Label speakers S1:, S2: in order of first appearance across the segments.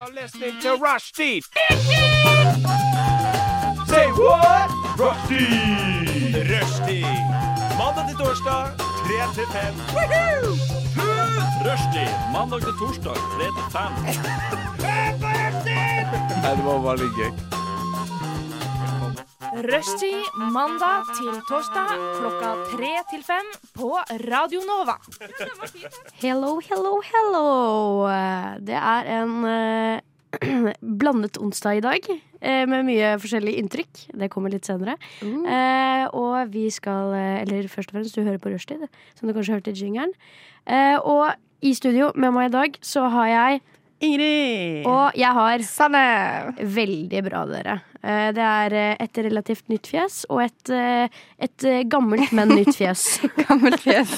S1: are listening to Rushdie. Say what? Rushdie. Rushdie. Mandag til torsdag, 3 til 5. Rushdie. Mandag til torsdag, 3 til 5. Nei, det var veldig gøy.
S2: Rushtid mandag til torsdag klokka tre til fem på Radio Nova.
S3: Hello, hello, hello. Det er en eh, blandet onsdag i dag, eh, med mye forskjellig inntrykk. Det kommer litt senere.
S4: Uh.
S3: Eh, og vi skal eh, Eller først og fremst, du hører på Rushtid, som du kanskje hørte i jingeren. Eh, og i studio med meg i dag så har jeg
S4: Ingrid!
S3: Og jeg har
S4: Sanne!
S3: Veldig bra, dere. Eh, Det er eh, et relativt nytt fjes og et, eh, et eh, gammelt, men nytt fjes.
S4: Gammelt fjes.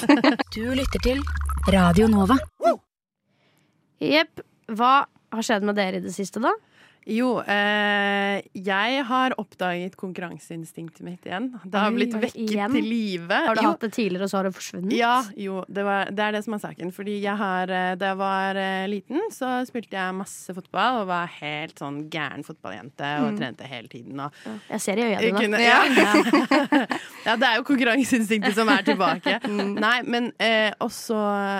S5: Du lytter til Radio Nova.
S3: Jepp. Hva har skjedd med dere i det siste, da?
S4: Jo, eh, jeg har oppdaget konkurranseinstinktet mitt igjen. Det har
S3: Oi,
S4: blitt
S3: har du
S4: vekket
S3: igjen?
S4: til live.
S3: Har du
S4: Jo,
S3: hatt det tidligere, og så har det forsvunnet?
S4: Ja, jo, det, var, det er det som er saken. Fordi jeg har, eh, da jeg var eh, liten, så spilte jeg masse fotball og var helt sånn gæren fotballjente
S3: Mm.
S4: og trente hele tiden. Og
S3: Jeg ser i øya
S4: Jeg
S3: dine.
S4: kunne, ja. ja, det er jo konkurranseinstinktet som er tilbake.
S3: Mm.
S4: Nei, men eh, også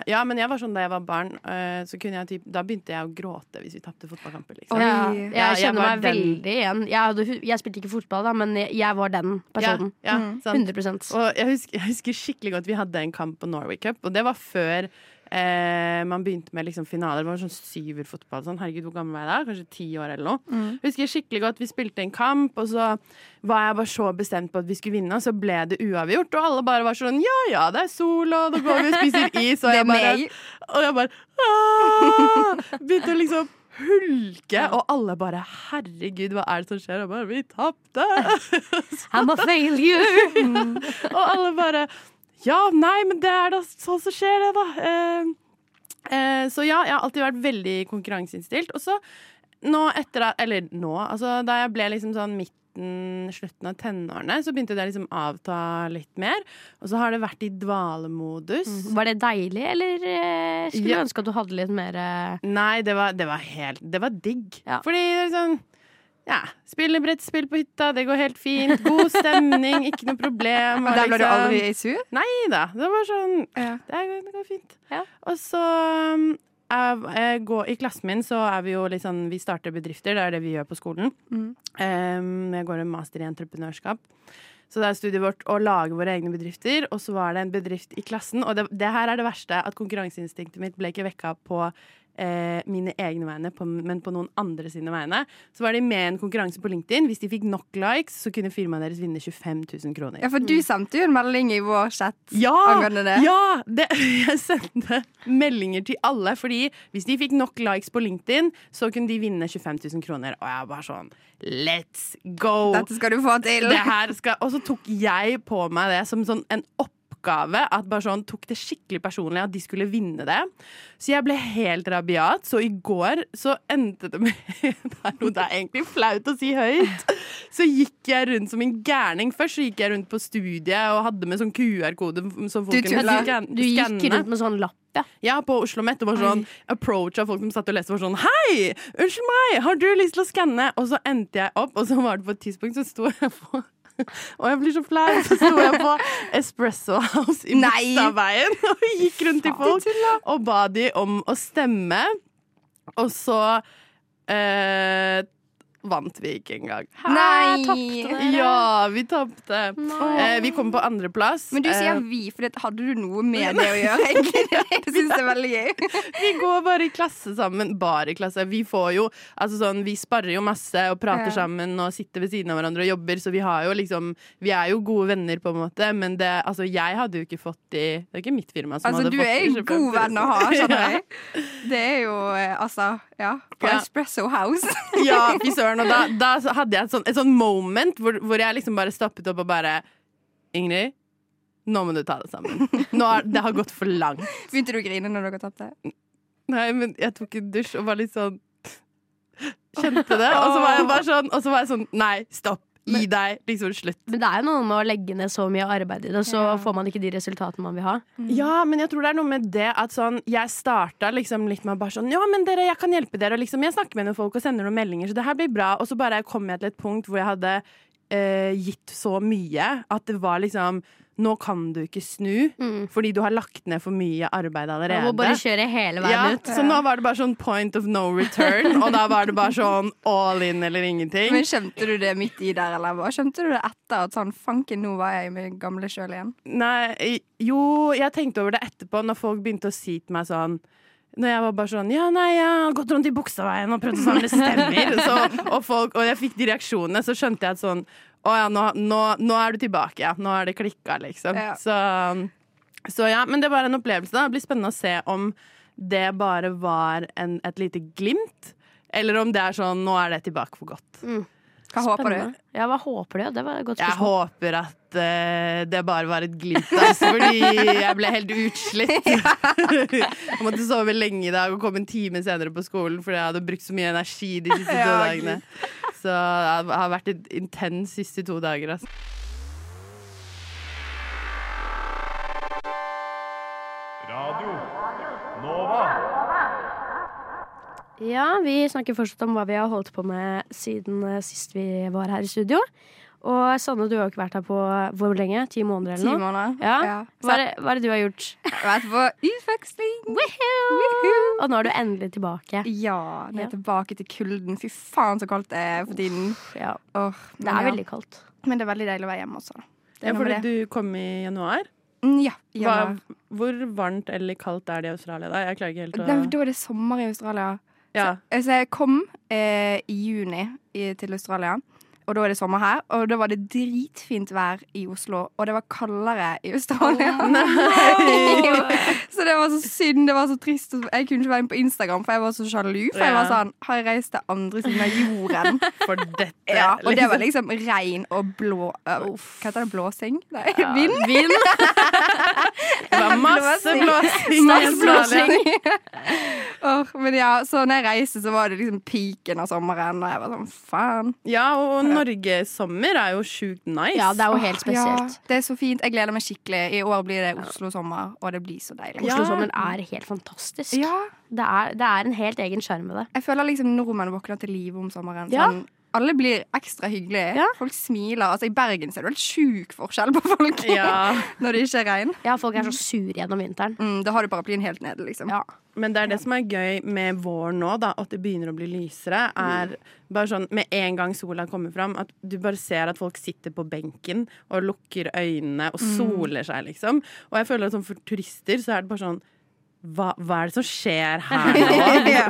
S4: Ja, men jeg var sånn da jeg var barn, eh, så kunne jeg typ Da begynte jeg å gråte hvis vi tapte fotballkamper, liksom.
S3: Ja,
S4: Ja,
S3: jeg
S4: jeg
S3: kjenner
S4: var
S3: meg
S4: den.
S3: veldig igjen. Jeg, hadde, hu- jeg spilte ikke fotball, da, men jeg- jeg var den personen.
S4: Ja, sant.
S3: 100
S4: Og jeg husker, jeg husker skikkelig godt vi hadde en kamp på Norway Cup, og det var før eh, man begynte med liksom finaler. Det var sånn syverfotball. Sånn. Herregud, hvor gammel var jeg da? Kanskje ti år eller noe.
S3: Mm.
S4: Jeg husker skikkelig godt vi spilte en kamp, og så var jeg bare så bestemt på at vi skulle vinne, og så ble det uavgjort, og alle bare var sånn ja ja, det er sol, og da går vi og spiser is,
S3: Det
S4: og
S3: er
S4: jeg bare,
S3: meg.
S4: og jeg bare «Aah!» begynte å liksom hulke, og alle bare herregud, hva er det som skjer? Og jeg bare vi tapte!
S3: I'm a failure!
S4: Og alle bare Ja, nei, men det er da sånn som skjer, det, da. Eh, eh, så ja, jeg har alltid vært veldig konkurranseinnstilt. Og så nå etter at Eller nå, altså da jeg ble liksom sånn midten, slutten av tenårene, så begynte det liksom avta litt mer. Og så har det vært i dvalemodus.
S6: Mhm.
S3: Var det deilig, eller eh, skulle
S4: Ja.
S3: du ønske at du hadde litt mer eh,
S4: Nei, det var, det var helt Det var digg.
S3: Ja.
S4: Fordi det er sånn ja, Spille brettspill på hytta, det går helt fint. God stemning, ikke noe problem. og
S6: Men der ble du
S4: liksom-
S6: aldri sur?
S4: Nei da. Det var sånn
S6: Ja.
S4: det, er, det går fint.
S3: Ja.
S4: Og så um, er, eh, gå, I klassen min så er vi jo litt sånn Vi starter bedrifter, det er det vi gjør på skolen.
S6: Mm.
S4: Um, jeg går en master i entreprenørskap. Så det er studiet vårt å lage våre egne bedrifter. Og så var det en bedrift i klassen. Og det, det her er det verste, at konkurranseinstinktet mitt ble ikke vekka på eh, mine egne vegne, på, men på noen andre sine vegne. Så var de med i en konkurranse på LinkedIn. Hvis de fikk nok likes, så kunne firmaet deres vinne 25 000 kroner.
S6: Ja, for du sendte jo en melding i vår chat
S4: Ja!
S6: angående det.
S4: ja det, jeg sendte meldinger til alle. Fordi hvis de fikk nok likes på LinkedIn, så kunne de vinne 25 000 kroner. Og jeg var sånn Let's go!
S6: Dette skal du få til.
S4: Det her skal, og så tok jeg på meg det som sånn en oppgave. At bare sånn tok det skikkelig personlig at de skulle vinne det. Så jeg ble helt rabiat. Så i går så endte det med Det er noe det er egentlig flaut å si høyt. Så gikk jeg rundt som en gærning. Først så gikk jeg rundt på studiet og hadde med sånn QR-kode. som folk
S6: Du
S4: kunne
S6: tuller.
S4: skan-
S3: Du gikk
S4: skanne.
S3: rundt med sånn lapp, ja.
S4: Ja, på Oslo Met. Det var sånn approach av folk som satt og leste. Var sånn, Hei, unnskyld meg, har du lyst til å skanne? Og så endte jeg opp, og så var det på et tidspunkt så sto jeg på og jeg blir så flau, så sto jeg på Espresso House i
S6: Nei.
S4: Bogstadveien og gikk rundt til folk og ba de om å stemme. Og så eh, vant vi ikke engang.
S6: Nei.
S4: Ja, vi tapte. Eh, vi kom på andreplass. eh,
S6: Men du sier vi, for det, hadde du noe med det å gjøre? egentlig? Jeg syns det er veldig gøy.
S4: Vi går bare i klasse sammen. Bare i klasse. Vi får jo Altså sånn, vi sparrer jo masse og prater
S6: Ja.
S4: sammen og sitter ved siden av hverandre og jobber, så vi har jo liksom Vi er jo gode venner, på en måte, men det Altså, jeg hadde jo ikke fått i Det er ikke mitt firma som
S6: Altså,
S4: hadde
S6: du
S4: fått
S6: er
S4: i
S6: en
S4: 25 000.
S6: god venn å ha, skjønner
S4: Ja.
S6: jeg. Det er jo eh, altså Ja. På
S4: Ja.
S6: Espresso House.
S4: Ja, fy søren. Og da, da så hadde jeg et sånn, et sånn moment hvor, hvor jeg liksom bare stoppet opp og bare Ingrid, nå må du ta det sammen. Nå har, det har gått for langt.
S6: Begynte du å grine når dere tapte?
S4: Nei, men jeg tok en dusj og var litt sånn Kjente det. Og så var jeg bare sånn, og så var jeg sånn Nei, stopp. Gi deg! Liksom, slutt.
S3: Men det er jo noe med å legge ned så mye arbeid i det, så
S2: Ja.
S3: får man ikke de resultatene man vil ha.
S4: Ja, men jeg tror det er noe med det at sånn Jeg starta liksom litt med bare sånn Ja, men dere, jeg kan hjelpe dere. Og liksom, jeg snakker med noen folk og sender noen meldinger, så det her blir bra. Og så bare kom jeg til et punkt hvor jeg hadde eh, gitt så mye at det var liksom Nå kan du ikke snu, fordi du har lagt ned for mye arbeid allerede.
S3: Man Mm. må bare kjøre hele veien
S4: ja,
S3: ut.
S4: Så nå var det bare sånn point of no return, og da var det bare sånn all in eller ingenting.
S6: Men skjønte du det midt i der, eller hva? Skjønte du det etter at sånn Fanken, nå var jeg i min gamle sjøl igjen.
S4: Nei, jo, jeg tenkte over det etterpå, når folk begynte å si til meg sånn når jeg var bare sånn Ja, nei, jeg har gått rundt i buksaveien og prøvd å samle stemmer. Så, og, folk, og jeg fikk de reaksjonene, så skjønte jeg at sånn Å ja, nå, nå, nå er du tilbake, ja. Nå er det klikka, liksom.
S6: Ja.
S4: Så, så ja, men det var en opplevelse. da. Det blir spennende å se om det bare var en, et lite glimt, eller om det er sånn Nå er det tilbake for godt.
S6: Hva håper du?
S3: Spennende. Ja, hva håper du? Det var et godt
S4: Jeg
S3: spørsmål.
S4: håper at eh, det bare var et glimt, altså, fordi jeg ble helt utslitt. jeg måtte sove lenge i dag og kom en time senere på skolen fordi jeg hadde brukt så mye energi de siste to
S6: Ja,
S4: dagene. Så det har vært et intens siste to dager. Altså.
S1: Radio Nova.
S3: Ja, vi snakker fortsatt om hva vi har holdt på med siden eh, sist vi var her i studio. Og Sanne, du har jo ikke vært her på hvor lenge? Ti måneder
S6: Ti
S3: eller noe?
S6: måneder?
S3: Ja. Hva,
S6: Så
S3: er det, hva er det du har gjort?
S6: jeg har vært på utveksling.
S3: Og nå er du endelig tilbake.
S6: Ja, nå
S3: Ja.
S6: er jeg tilbake til kulden. Fy faen så kaldt det er for tiden.
S3: Ja,
S6: Åh, men,
S3: det er
S6: ja.
S3: veldig kaldt.
S6: men det er veldig deilig å være hjemme også. da. Det
S4: Ja,
S6: er noe
S4: fordi
S6: med det.
S4: du kom i januar.
S6: Mm, ja,
S4: Hva,
S6: januar.
S4: hvor varmt eller kaldt er det i Australia da? Jeg klarer ikke helt
S6: Da,
S4: å
S6: da er det sommer i Australia.
S4: ja.
S6: Så jeg kom eh, i juni i, til Australia, og da er det sommer her. Og da var det dritfint vær i Oslo, og det var kaldere i Australia. så det var så synd, det var så trist. og Jeg kunne ikke være inne på Instagram, for jeg var så sjalu. For jeg
S4: Ja.
S6: var sånn Har jeg reist til andre siden av jorden?
S4: For dette.
S6: Ja, og det
S4: liksom.
S6: var liksom regn og blå øh, Hva heter det? Blåsing? Nei, vind?
S3: Vind.
S4: Det var masse
S6: Blåsing.
S4: blåsing i
S6: Masse
S4: Australia.
S6: Åh, men ja, så når jeg reiste, så var det liksom peaken av sommeren, og jeg var sånn faen.
S4: Ja, og Norgesommer er jo sjukt nice.
S3: Ja, det er jo helt
S6: Åh,
S3: spesielt.
S6: Ja, det er så fint. Jeg gleder meg skikkelig. I år blir det Oslo-sommer, og det blir så deilig.
S4: Ja.
S3: Oslo-sommeren er helt fantastisk.
S6: Ja.
S3: Det, er, det er en helt egen sjarm med det.
S6: Jeg føler liksom nordmenn våkner til live om sommeren.
S3: Ja.
S6: Sånn, alle blir ekstra hyggelige.
S3: Ja.
S6: Folk smiler. Altså, I Bergen ser du helt sjuk forskjell på folk
S4: Ja.
S6: når det ikke er regn.
S3: Ja, folk er så sure gjennom vinteren.
S6: Mm, da har du paraplyen helt nede, liksom.
S3: Ja.
S4: Men det er det som er gøy med vår nå, da, at det begynner å bli lysere, er bare sånn med en gang sola kommer fram, at du bare ser at folk sitter på benken og lukker øynene og soler seg, liksom. Og jeg føler at sånn for turister så er det bare sånn hva, hva er det som skjer her nå?
S6: Ja.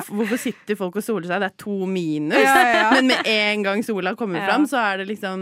S4: Hvorfor- Hvorfor sitter folk og soler seg? Det er to minus.
S6: Ja, ja, ja.
S4: Men med en gang sola kommer fram, så er det liksom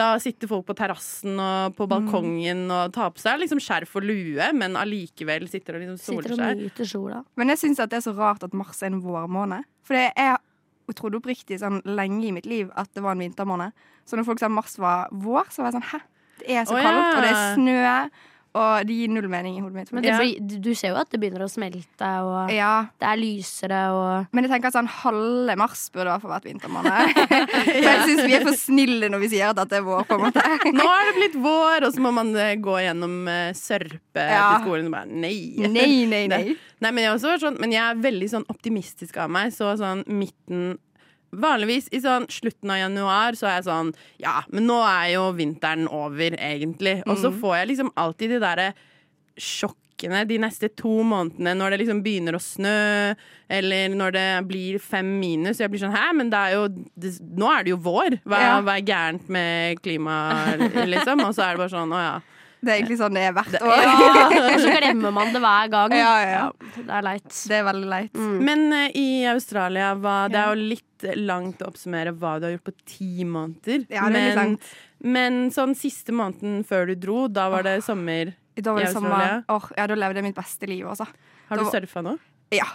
S4: Da sitter folk på terrassen og på balkongen og tar på seg liksom skjerf og lue, men allikevel sitter og liksom soler
S3: Sitter og
S4: seg.
S3: nyter sola.
S6: Men jeg syns det er så rart at mars er en vårmåned. For det er jeg trodde oppriktig sånn lenge i mitt liv at det var en vintermåned. Så når folk sa mars var vår, så var jeg sånn hæ? Det er
S4: Å,
S6: så
S4: ja.
S6: kaldt, og det er snø, og det gir null mening i hodet mitt.
S3: Men
S6: Men
S3: det
S4: Ja.
S3: blir, du- du ser jo at det begynner å smelte, og
S6: ja.
S3: det er lysere, og
S6: Men jeg tenker at sånn halve mars burde i hvert fall vært vintermåned. For jeg syns vi er for snille når vi sier at det er vår, på en måte.
S4: Nå er det blitt vår, og så må man eh, gå gjennom eh, sørpe
S6: Ja.
S4: til skolen. Og bare, nei.
S6: Nei, nei, nei.
S4: Det- nei men, jeg har også vært sånn, men jeg er veldig sånn optimistisk av meg. Så sånn midten Vanligvis i sånn slutten av januar så er jeg sånn Ja, men nå er jo vinteren over, egentlig. Og så
S6: Mm.
S4: får jeg liksom alltid de derre sjokkene de neste to månedene når det liksom begynner å snø, eller når det blir fem minus. Jeg blir sånn Hæ, men det er jo det, Nå er det jo vår! Hva,
S6: Ja.
S4: hva er gærent med klimaet, liksom? Og så er det bare sånn Å ja.
S6: Det er egentlig sånn det er hvert år.
S3: ja, Så glemmer man det hver gang.
S6: Ja, ja.
S3: det er leit.
S6: Det er veldig leit.
S4: Men eh, i Australia hva, Det er jo litt langt å oppsummere hva du har gjort på ti måneder.
S6: Ja, det er litt
S4: men,
S6: langt.
S4: men sånn siste måneden før du dro, da var det sommer.
S6: Da
S4: I
S6: var det sommer.
S4: Australia?
S6: Åh, ja, da levde jeg mitt beste liv, altså.
S4: Har du
S6: Da var-
S4: surfa nå?
S6: Ja,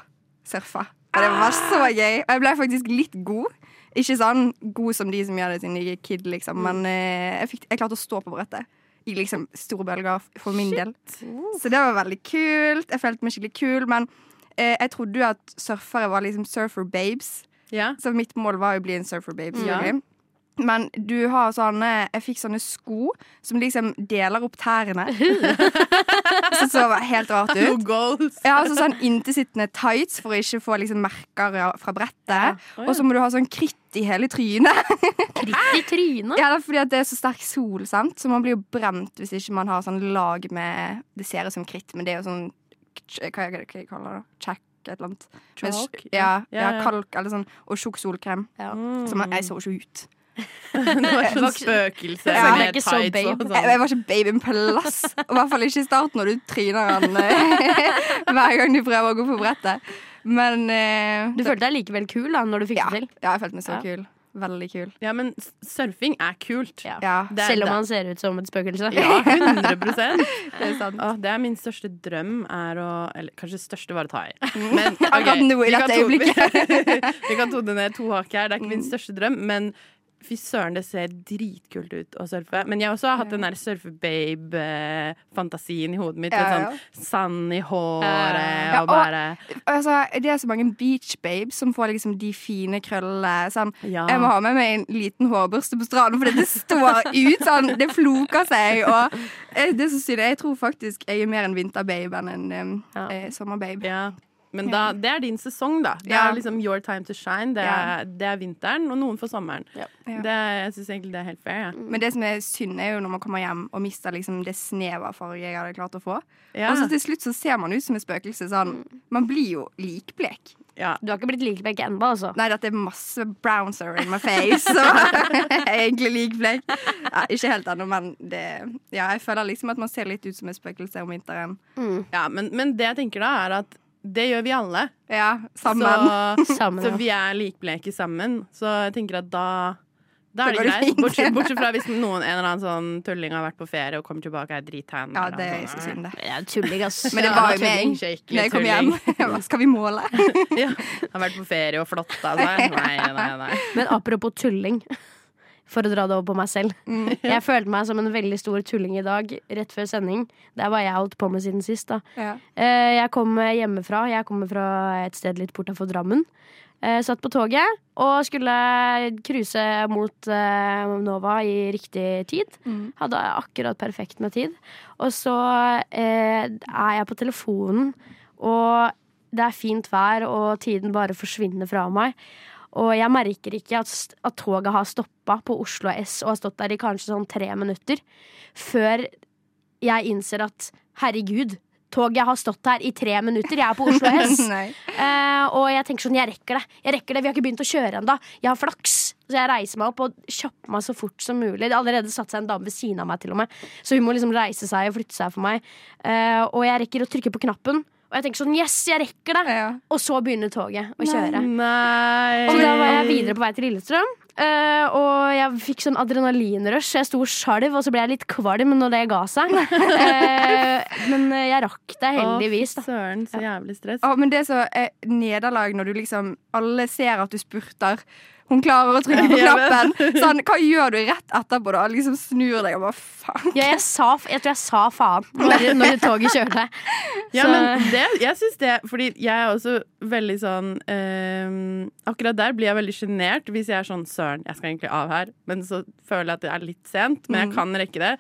S6: surfa. Og det var så gøy. Og jeg ble faktisk litt god. Ikke sånn god som de som gjør det siden de er kid, liksom, men eh, jeg, fikk, jeg klarte å stå på brettet. I liksom store bølger for min del. Så det var veldig kult. Jeg følte meg skikkelig kul, men eh, jeg trodde jo at surfere var liksom surfer babes.
S4: Ja.
S6: Så mitt mål var jo å bli en surfer babe.
S4: Ja.
S6: selvfølgelig. Men du har sånne Jeg fikk sånne sko som liksom deler opp tærne. så så helt rart
S4: No
S6: ut.
S4: goals.
S6: Ja, altså sånn Inntilsittende tights for å ikke få liksom merker ja, fra brettet. Og så må du ha sånn kritt i hele trynet.
S3: Kritt i trynet.
S6: Ja, det er fordi at det er så sterk sol, sant? så man blir jo brent hvis ikke man har sånn lag med Det ser ut som kritt, men det er jo sånn Hva er det hva jeg kaller det? Check, et eller annet. Men
S4: Chalk,
S6: sj-
S4: ja.
S6: Ja,
S4: Ja,
S6: ja,
S4: ja.
S6: kalk eller sånn. Og tjukk solkrem. Så man, jeg så ikke ut.
S4: Det var sånn
S3: Voksen-
S4: spøkelse.
S3: Ja,
S4: med
S3: det er ikke så
S4: tights og
S3: babe.
S6: Jeg,
S4: sånn.
S6: jeg var ikke babyen på lass. Og I hvert fall ikke i starten når du tryner han eh, hver gang du prøver å gå på brettet. Men eh,
S3: Du følte deg likevel kul da når du fikk
S6: ja,
S3: det til.
S6: ja, jeg følte meg så
S3: Ja.
S6: kul. Veldig kul.
S4: Ja, men s- surfing er kult.
S3: Ja.
S6: Ja,
S4: Det er-
S3: Selv om
S4: det-
S3: han ser ut som et spøkelse.
S4: Ja, 100
S6: det er sant.
S4: Åh, Det er min største drøm er å Eller kanskje største var å ta i. Men, ok,
S6: Akkurat nå, i
S4: vi
S6: dette
S4: kan to-
S6: øyeblikket. Mm.
S4: vi kan tone ned to hakk her. Det er ikke min største drøm, men fy søren, det ser dritkult ut å surfe. Men jeg også har hatt den der surfebabe-fantasien i hodet mitt.
S6: Ja,
S4: med
S6: ja.
S4: sånn sand i håret
S6: Ja,
S4: og
S6: og-
S4: bare
S6: Altså, det er så mange beach babes som får liksom de fine krøllene. Sånn.
S4: Ja.
S6: Jeg må ha med meg en liten hårbørste på stranden, for det står ut sånn. Det floker seg. Og eh, det er så synd. Jeg tror faktisk jeg er mer en vinterbabe enn en eh,
S3: Ja.
S6: eh, sommerbabe.
S4: Ja. Men da, det er din sesong, da. Det
S6: Ja.
S4: er liksom your time to shine. Det
S6: Ja.
S4: er, det er vinteren, og noen får sommeren.
S6: Ja.
S4: Det, er- jeg syns egentlig det er helt fair. Ja.
S6: Men det som er synd, er jo når man kommer hjem og mister liksom det snevet av farge jeg hadde klart å få.
S4: Ja.
S6: Og så til slutt så ser man ut som et spøkelse. Sånn. Man blir jo likblek.
S4: ja.
S3: Du har ikke blitt likebekk ennå, altså.
S6: Nei, dette er masse brownser in my face. Så jeg er egentlig likblek. Ja, ikke helt ennå, men det Ja, jeg føler liksom at man ser litt ut som et spøkelse om vinteren.
S4: Ja, men, men det jeg tenker da, er at det gjør vi alle.
S6: Ja, sammen.
S4: Så,
S3: Sammen,
S4: så
S3: ja.
S4: vi er likbleke sammen. Så jeg tenker at da da er
S6: Så
S4: det
S6: går det
S4: greit.
S6: fint.
S4: Bortsett, bortsett fra hvis noen en eller annen sånn tulling har vært på ferie og kommer tilbake og er drittan.
S6: Ja,
S4: eller
S6: det er
S4: noe
S6: så
S4: sånt.
S6: synd, det.
S3: Det er tulling, ass.
S6: Men det
S4: Ja,
S6: var jo
S4: tulling,
S6: meg
S4: skikkelig
S6: når jeg kom hjem.
S4: tulling.
S6: Hva skal vi måle?
S4: Ja, har vært på ferie og flotta seg. Nei, nei, nei.
S3: Men apropos tulling, for å dra det over på meg selv.
S6: Mm.
S3: Jeg følte meg som en veldig stor tulling i dag, rett før sending. Det er hva jeg holdt på med siden sist, da.
S6: Ja.
S3: Eh, Jeg kom hjemmefra. Jeg kommer fra et sted litt bortafor Drammen. Eh, Satt på toget og skulle cruise mot eh, Nova i riktig tid. Hadde akkurat perfekt med tid. Og så eh, er jeg på telefonen, og det er fint vær, og tiden bare forsvinner fra meg. Og jeg merker ikke at, st- at toget har stoppa på Oslo S og har stått der i kanskje sånn tre minutter før jeg innser at herregud, toget har stått her i tre minutter. Jeg er på Oslo S.
S6: Nei.
S3: Eh, og jeg tenker sånn, jeg rekker det. Jeg rekker det, Vi har ikke begynt å kjøre ennå. Jeg har flaks. Så jeg reiser meg opp og kjapper meg så fort som mulig. Det har allerede satt seg en dame ved siden av meg, til og med. Så hun må liksom reise seg og flytte seg for meg. Eh, og jeg rekker å trykke på knappen. Og jeg tenker sånn, yes, jeg rekker det.
S6: Ja.
S3: Og så begynner toget å kjøre.
S4: nei.
S3: Så da var jeg videre på vei til Lillestrøm. eh, og jeg fikk sånn adrenalinrush. Jeg sto og skjalv, og så ble jeg litt kvalm når det ga seg. Eh, men eh, jeg rakk det heldigvis.
S4: Å,
S3: Da.
S4: fy Søren, så jævlig stress.
S6: Å, men det er så eh, nederlag når du liksom Alle ser at du spurter. Hun klarer å trykke på
S4: Ja, jeg
S6: knappen. Sånn, hva gjør du rett etterpå? da? Liksom snur deg og bare faen.
S3: Ja, jeg, sa, jeg tror jeg sa faen når, når toget kjørte.
S4: Ja,
S3: Så-
S4: men det, jeg syns det Fordi jeg er også veldig sånn ehm, Akkurat der blir jeg veldig sjenert hvis jeg er sånn Søren, jeg skal egentlig av her, men så føler jeg at det er litt sent, men jeg
S3: Mm.
S4: kan rekke det.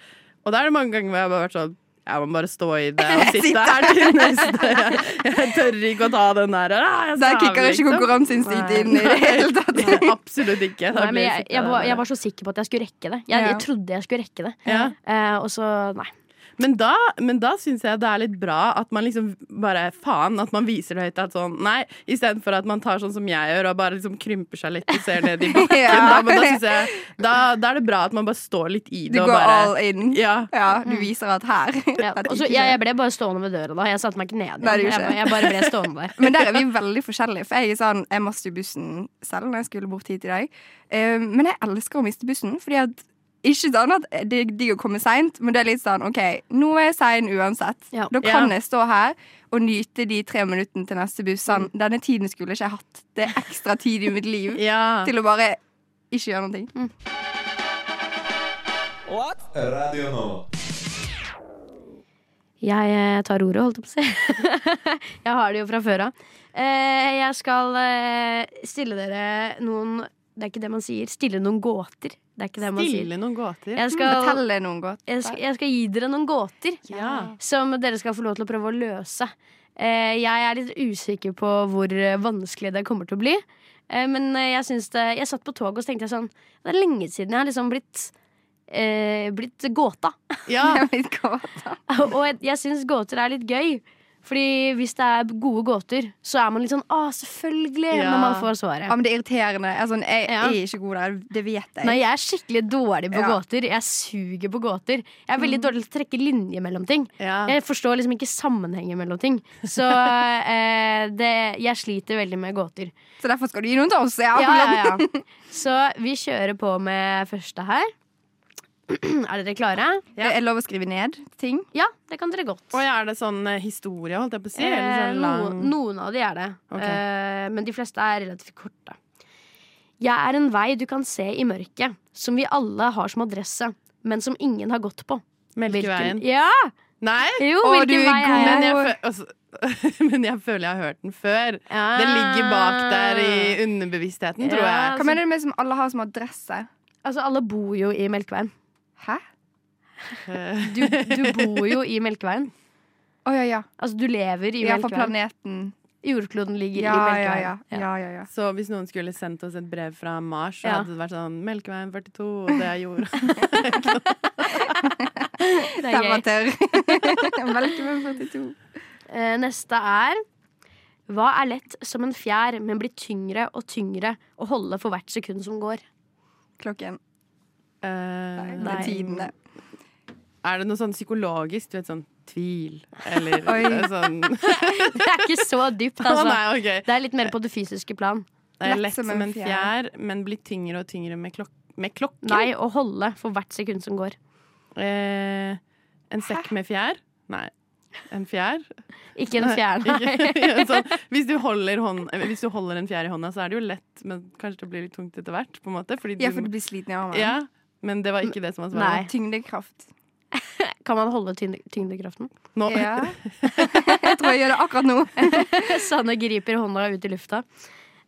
S4: Og da er det mange ganger hvor jeg bare har vært sånn jeg må bare stå i det og sitte her til neste. Jeg, jeg tør ikke å ta den der. «Ah, jeg skal
S6: Der
S4: av»,
S6: kicker ikke
S4: liksom.
S6: konkurranseinstinktet inn i det hele tatt.
S4: Nei, Absolutt ikke.
S3: Nei,
S4: Da
S3: men
S4: blir
S3: jeg,
S4: sittende
S3: jeg, var,
S4: der.
S3: jeg var så sikker på at jeg skulle rekke det. Jeg,
S6: Ja.
S3: jeg trodde jeg skulle rekke det.
S4: Ja.
S3: Eh, og så, nei.
S4: Men da, men da syns jeg det er litt bra at man liksom bare faen, at man viser det høyt at sånn Nei, istedenfor at man tar sånn som jeg gjør og bare liksom krymper seg litt og ser ned i bakken.
S6: Ja.
S4: Da, men da, synes jeg, da, da er det bra at man bare står litt i
S6: Du
S4: det og
S6: går
S4: bare
S6: all in.
S4: Ja. Mm.
S6: Ja, du viser at her
S3: Ja.
S6: dette
S3: Og så, jeg,
S6: ikke
S3: jeg
S6: skjer.
S3: ble bare stående ved døra da. Jeg satte meg ikke ned
S6: Nei,
S3: igjen.
S6: det gjorde
S3: Jeg,
S6: ikke
S3: bare- jeg bare ble stående der.
S6: Men der er vi veldig forskjellige. For jeg er sånn, jeg miste bussen selv når jeg skulle bort hit i dag. Eh, men jeg elsker å miste bussen. Fordi at ikke sånn at det er digg å komme seint, men det er litt sånn OK, nå er jeg sein uansett.
S3: Ja.
S6: Da kan
S4: Ja.
S6: jeg stå her og nyte de tre minuttene til neste buss. Sånn, denne tiden skulle ikke jeg hatt. Det er ekstra tid i mitt liv
S4: Mm. ja.
S6: til å bare ikke gjøre noe.
S1: Radio Nova.
S3: Jeg eh, tar ordet, holdt jeg på å si. jeg har det jo fra før av. Eh, Jeg skal eh, stille dere noen det er ikke det man sier. Stille noen gåter. Det er ikke det man sier.
S4: Stille noen gåter.
S3: Jeg skal,
S6: Fortell noen godt.
S3: jeg, skal, jeg skal gi dere noen gåter
S4: Ja.
S3: som dere skal få lov til å prøve å løse. Eh, jeg er litt usikker på hvor eh, vanskelig det kommer til å bli. Eh, men eh, jeg syns det Jeg satt på toget og så tenkte jeg sånn Det er lenge siden jeg har liksom blitt eh, Blitt gåta.
S4: ja.
S6: Jeg vet ikke hva.
S3: Og jeg, jeg syns gåter er litt gøy. Fordi hvis det er gode gåter, så er man litt sånn Å, selvfølgelig!
S4: Ja.
S3: Når man får svaret.
S6: Ja, men det er irriterende. Jeg, er sånn, jeg,
S3: Ja.
S6: jeg er ikke god der, det vet jeg.
S3: Nei, jeg er skikkelig dårlig på
S6: Ja.
S3: gåter. Jeg suger på gåter. Jeg er veldig dårlig til å trekke linjer mellom ting.
S4: Ja.
S3: Jeg forstår liksom ikke sammenhengen mellom ting. Så eh, det, jeg sliter veldig med gåter.
S6: Så derfor skal du gi noen til oss. Ja.
S3: Ja, ja, ja. Så vi kjører på med første her. Er dere klare?
S6: Det er lov å skrive ned ting.
S3: Ja, det kan dere godt.
S4: Og er det sånn eh, historie, holdt jeg på å si? Eller
S3: Eh,
S4: sånn
S3: no,
S4: lang
S3: noen av de er det.
S4: Ok.
S3: Eh, men de fleste er relativt korte. Jeg er en vei du kan se i mørket, som vi alle har som adresse, men som ingen har gått på. Hvilken-
S4: Melkeveien?
S3: Ja!
S4: Nei!
S3: Jo,
S6: Å, du
S3: hvilken
S6: er
S3: vei er jeg?
S6: god.
S4: Men jeg, fø- altså, men jeg føler jeg har hørt den før.
S3: Ja.
S4: Den ligger bak der i
S3: Ah.
S4: underbevisstheten, tror
S3: Ja.
S4: jeg.
S6: Hva mener du med som alle har som adresse?
S3: Altså, alle bor jo i Melkeveien.
S6: Hæ?
S4: Eh,
S3: Du, du bor jo i Melkeveien.
S6: Å ja, ja.
S3: Altså, du lever i
S6: Ja, for
S3: Melkeveien.
S6: planeten.
S3: Jordkloden ligger i
S6: Ja, ja,
S3: Melkeveien.
S6: ja. ja, ja, ja.
S4: Så hvis noen skulle sendt oss et brev fra Mars, så
S3: Ja.
S4: hadde det vært sånn Melkeveien 42, og det er jorda.
S3: Det er gøy.
S6: Temperatur. Velkommen 42.
S3: Eh, Neste er Hva er lett som en fjær, men blir tyngre og tyngre å holde for hvert sekund som går?
S6: Klokken.
S4: Eh,
S6: Nei. Tidene.
S4: Er det noe sånn psykologisk? Du vet sånn tvil, eller
S6: Oi.
S4: eh, sånn Å
S3: Det er ikke så dypt, altså.
S4: nei, OK.
S3: Det er litt mer på det fysiske plan.
S4: Det er lett som en fjær, men blir tyngre og tyngre med, klok med klokken.
S3: Nei, å holde for hvert sekund som går.
S4: Eh, en sekk med fjær? Nei. En fjær?
S3: Ikke en fjær, nei.
S4: Ikke- sånn, hvis, du holder hånd, eh, hvis du holder en fjær i hånda, så er det jo lett, men kanskje det blir litt tungt etter hvert. På en måte, fordi
S6: Ja,
S4: du,
S6: for du blir sliten i armen.
S4: ja, men det var ikke det som var
S3: Nei.
S4: svaret.
S6: Tyngdekraft.
S3: Kan man holde tyngde, tyngdekraften?
S4: Nå,
S6: Ja. Jeg tror jeg gjør det akkurat nå.
S3: Sanne griper hånda ut i lufta.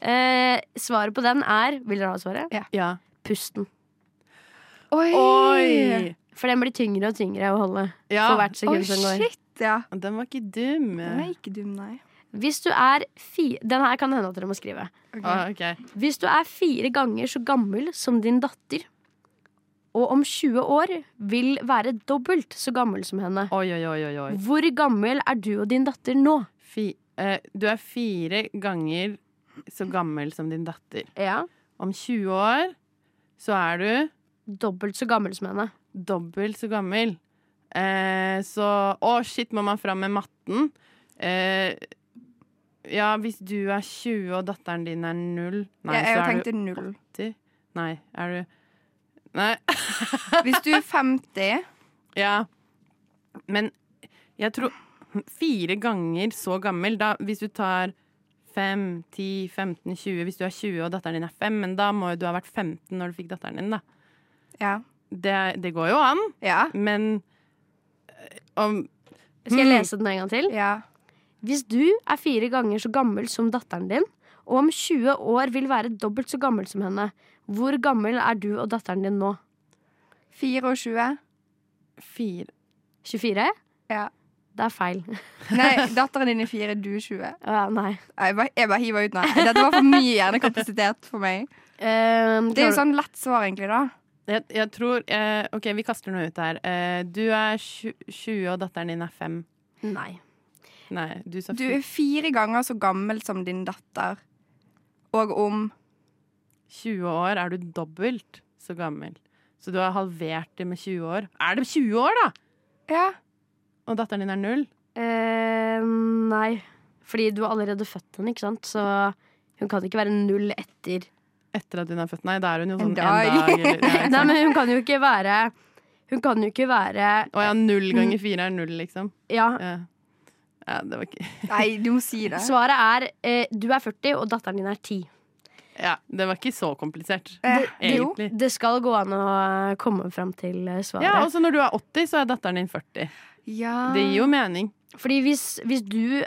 S3: Eh, svaret på den er Vil dere ha svaret?
S4: ja.
S3: Pusten.
S6: Oi!
S4: Oi!
S3: For den blir tyngre og tyngre å holde
S4: Ja.
S3: for hvert sekund som går.
S6: shit, ja.
S4: Den var ikke dum.
S6: Den er ikke dum, nei.
S3: Hvis du er fi Den her kan det hende at dere må skrive.
S4: Ah, ok.
S3: Hvis du er fire ganger så gammel som din datter, og om 20 år vil være dobbelt så gammel som henne,
S4: Oi, oi, oi, oi, oi.
S3: hvor gammel er du og din datter nå?
S4: Fi, eh, du er fire ganger så gammel som din datter.
S3: Ja.
S4: Om 20 år så er du
S3: Dobbelt så gammel som henne.
S4: dobbelt så gammel. Eh, så Å, shit, må man fram med matten? Eh, ja, hvis du er 20 og datteren din er null Nei,
S6: Jeg, jeg
S4: så er
S6: tenkte null.
S4: du 80. Nei, er du Nei.
S6: Hvis du er 50
S4: Ja. Men jeg tror Fire ganger så gammel, da hvis du tar 5, 10, 15, 20 Hvis du er 20 og datteren din er 5, men da må jo du ha vært 15 når du fikk datteren din, da.
S6: Ja.
S4: Det, det går jo an,
S6: Ja.
S4: men eh, om
S3: Skal jeg
S4: Mm.
S3: lese den en gang til?
S6: ja.
S3: Hvis du er fire ganger så gammel som datteren din, og om 20 år vil være dobbelt så gammel som henne, hvor gammel er du og datteren din nå?
S6: 24.
S4: Fire
S3: 24?
S6: Ja.
S3: Det er feil.
S6: Nei, datteren din er 4, du er 20.
S3: Å ja, nei.
S6: Jeg bare, jeg bare hiver ut nå. Dette var for mye hjernekapasitet for meg.
S3: Ehm,
S6: Det er jo
S3: klarer-
S6: sånn lett svar, egentlig, da.
S4: Jeg, jeg tror eh, OK, vi kaster noe ut her. Eh, du er tju- 20, og datteren din er 5.
S3: Nei.
S4: Nei, du sa
S6: Du
S4: 20.
S6: er fire ganger så gammel som din datter. Og om
S4: 20 år er du dobbelt så gammel. Så du har halvert det med 20 år. Er det 20 år, da?!
S6: Ja.
S4: Og datteren din er null?
S3: Ehm, nei. Fordi du har allerede født henne, ikke sant? Så hun kan ikke være null etter.
S4: Etter at hun er født? Nei, da er hun jo sånn
S6: En
S4: en
S6: dag.
S4: dag. eller- ja, ikke
S3: Nei,
S4: sant?
S3: men hun kan jo ikke være Hun kan jo ikke være
S4: Å ja, null ganger fire er null, liksom.
S3: Ja.
S4: Ja, ja det var ikke
S6: Nei, du må si det.
S3: Svaret er eh, du er 40, og datteren din er 10.
S4: Ja, det var ikke så komplisert,
S6: Eh, jo.
S4: egentlig.
S3: Det skal gå an å komme fram til eh, svaret.
S4: Ja, og så når du er 80, så er datteren din 40.
S6: Ja.
S4: Det gir jo mening.
S3: Fordi hvis, hvis du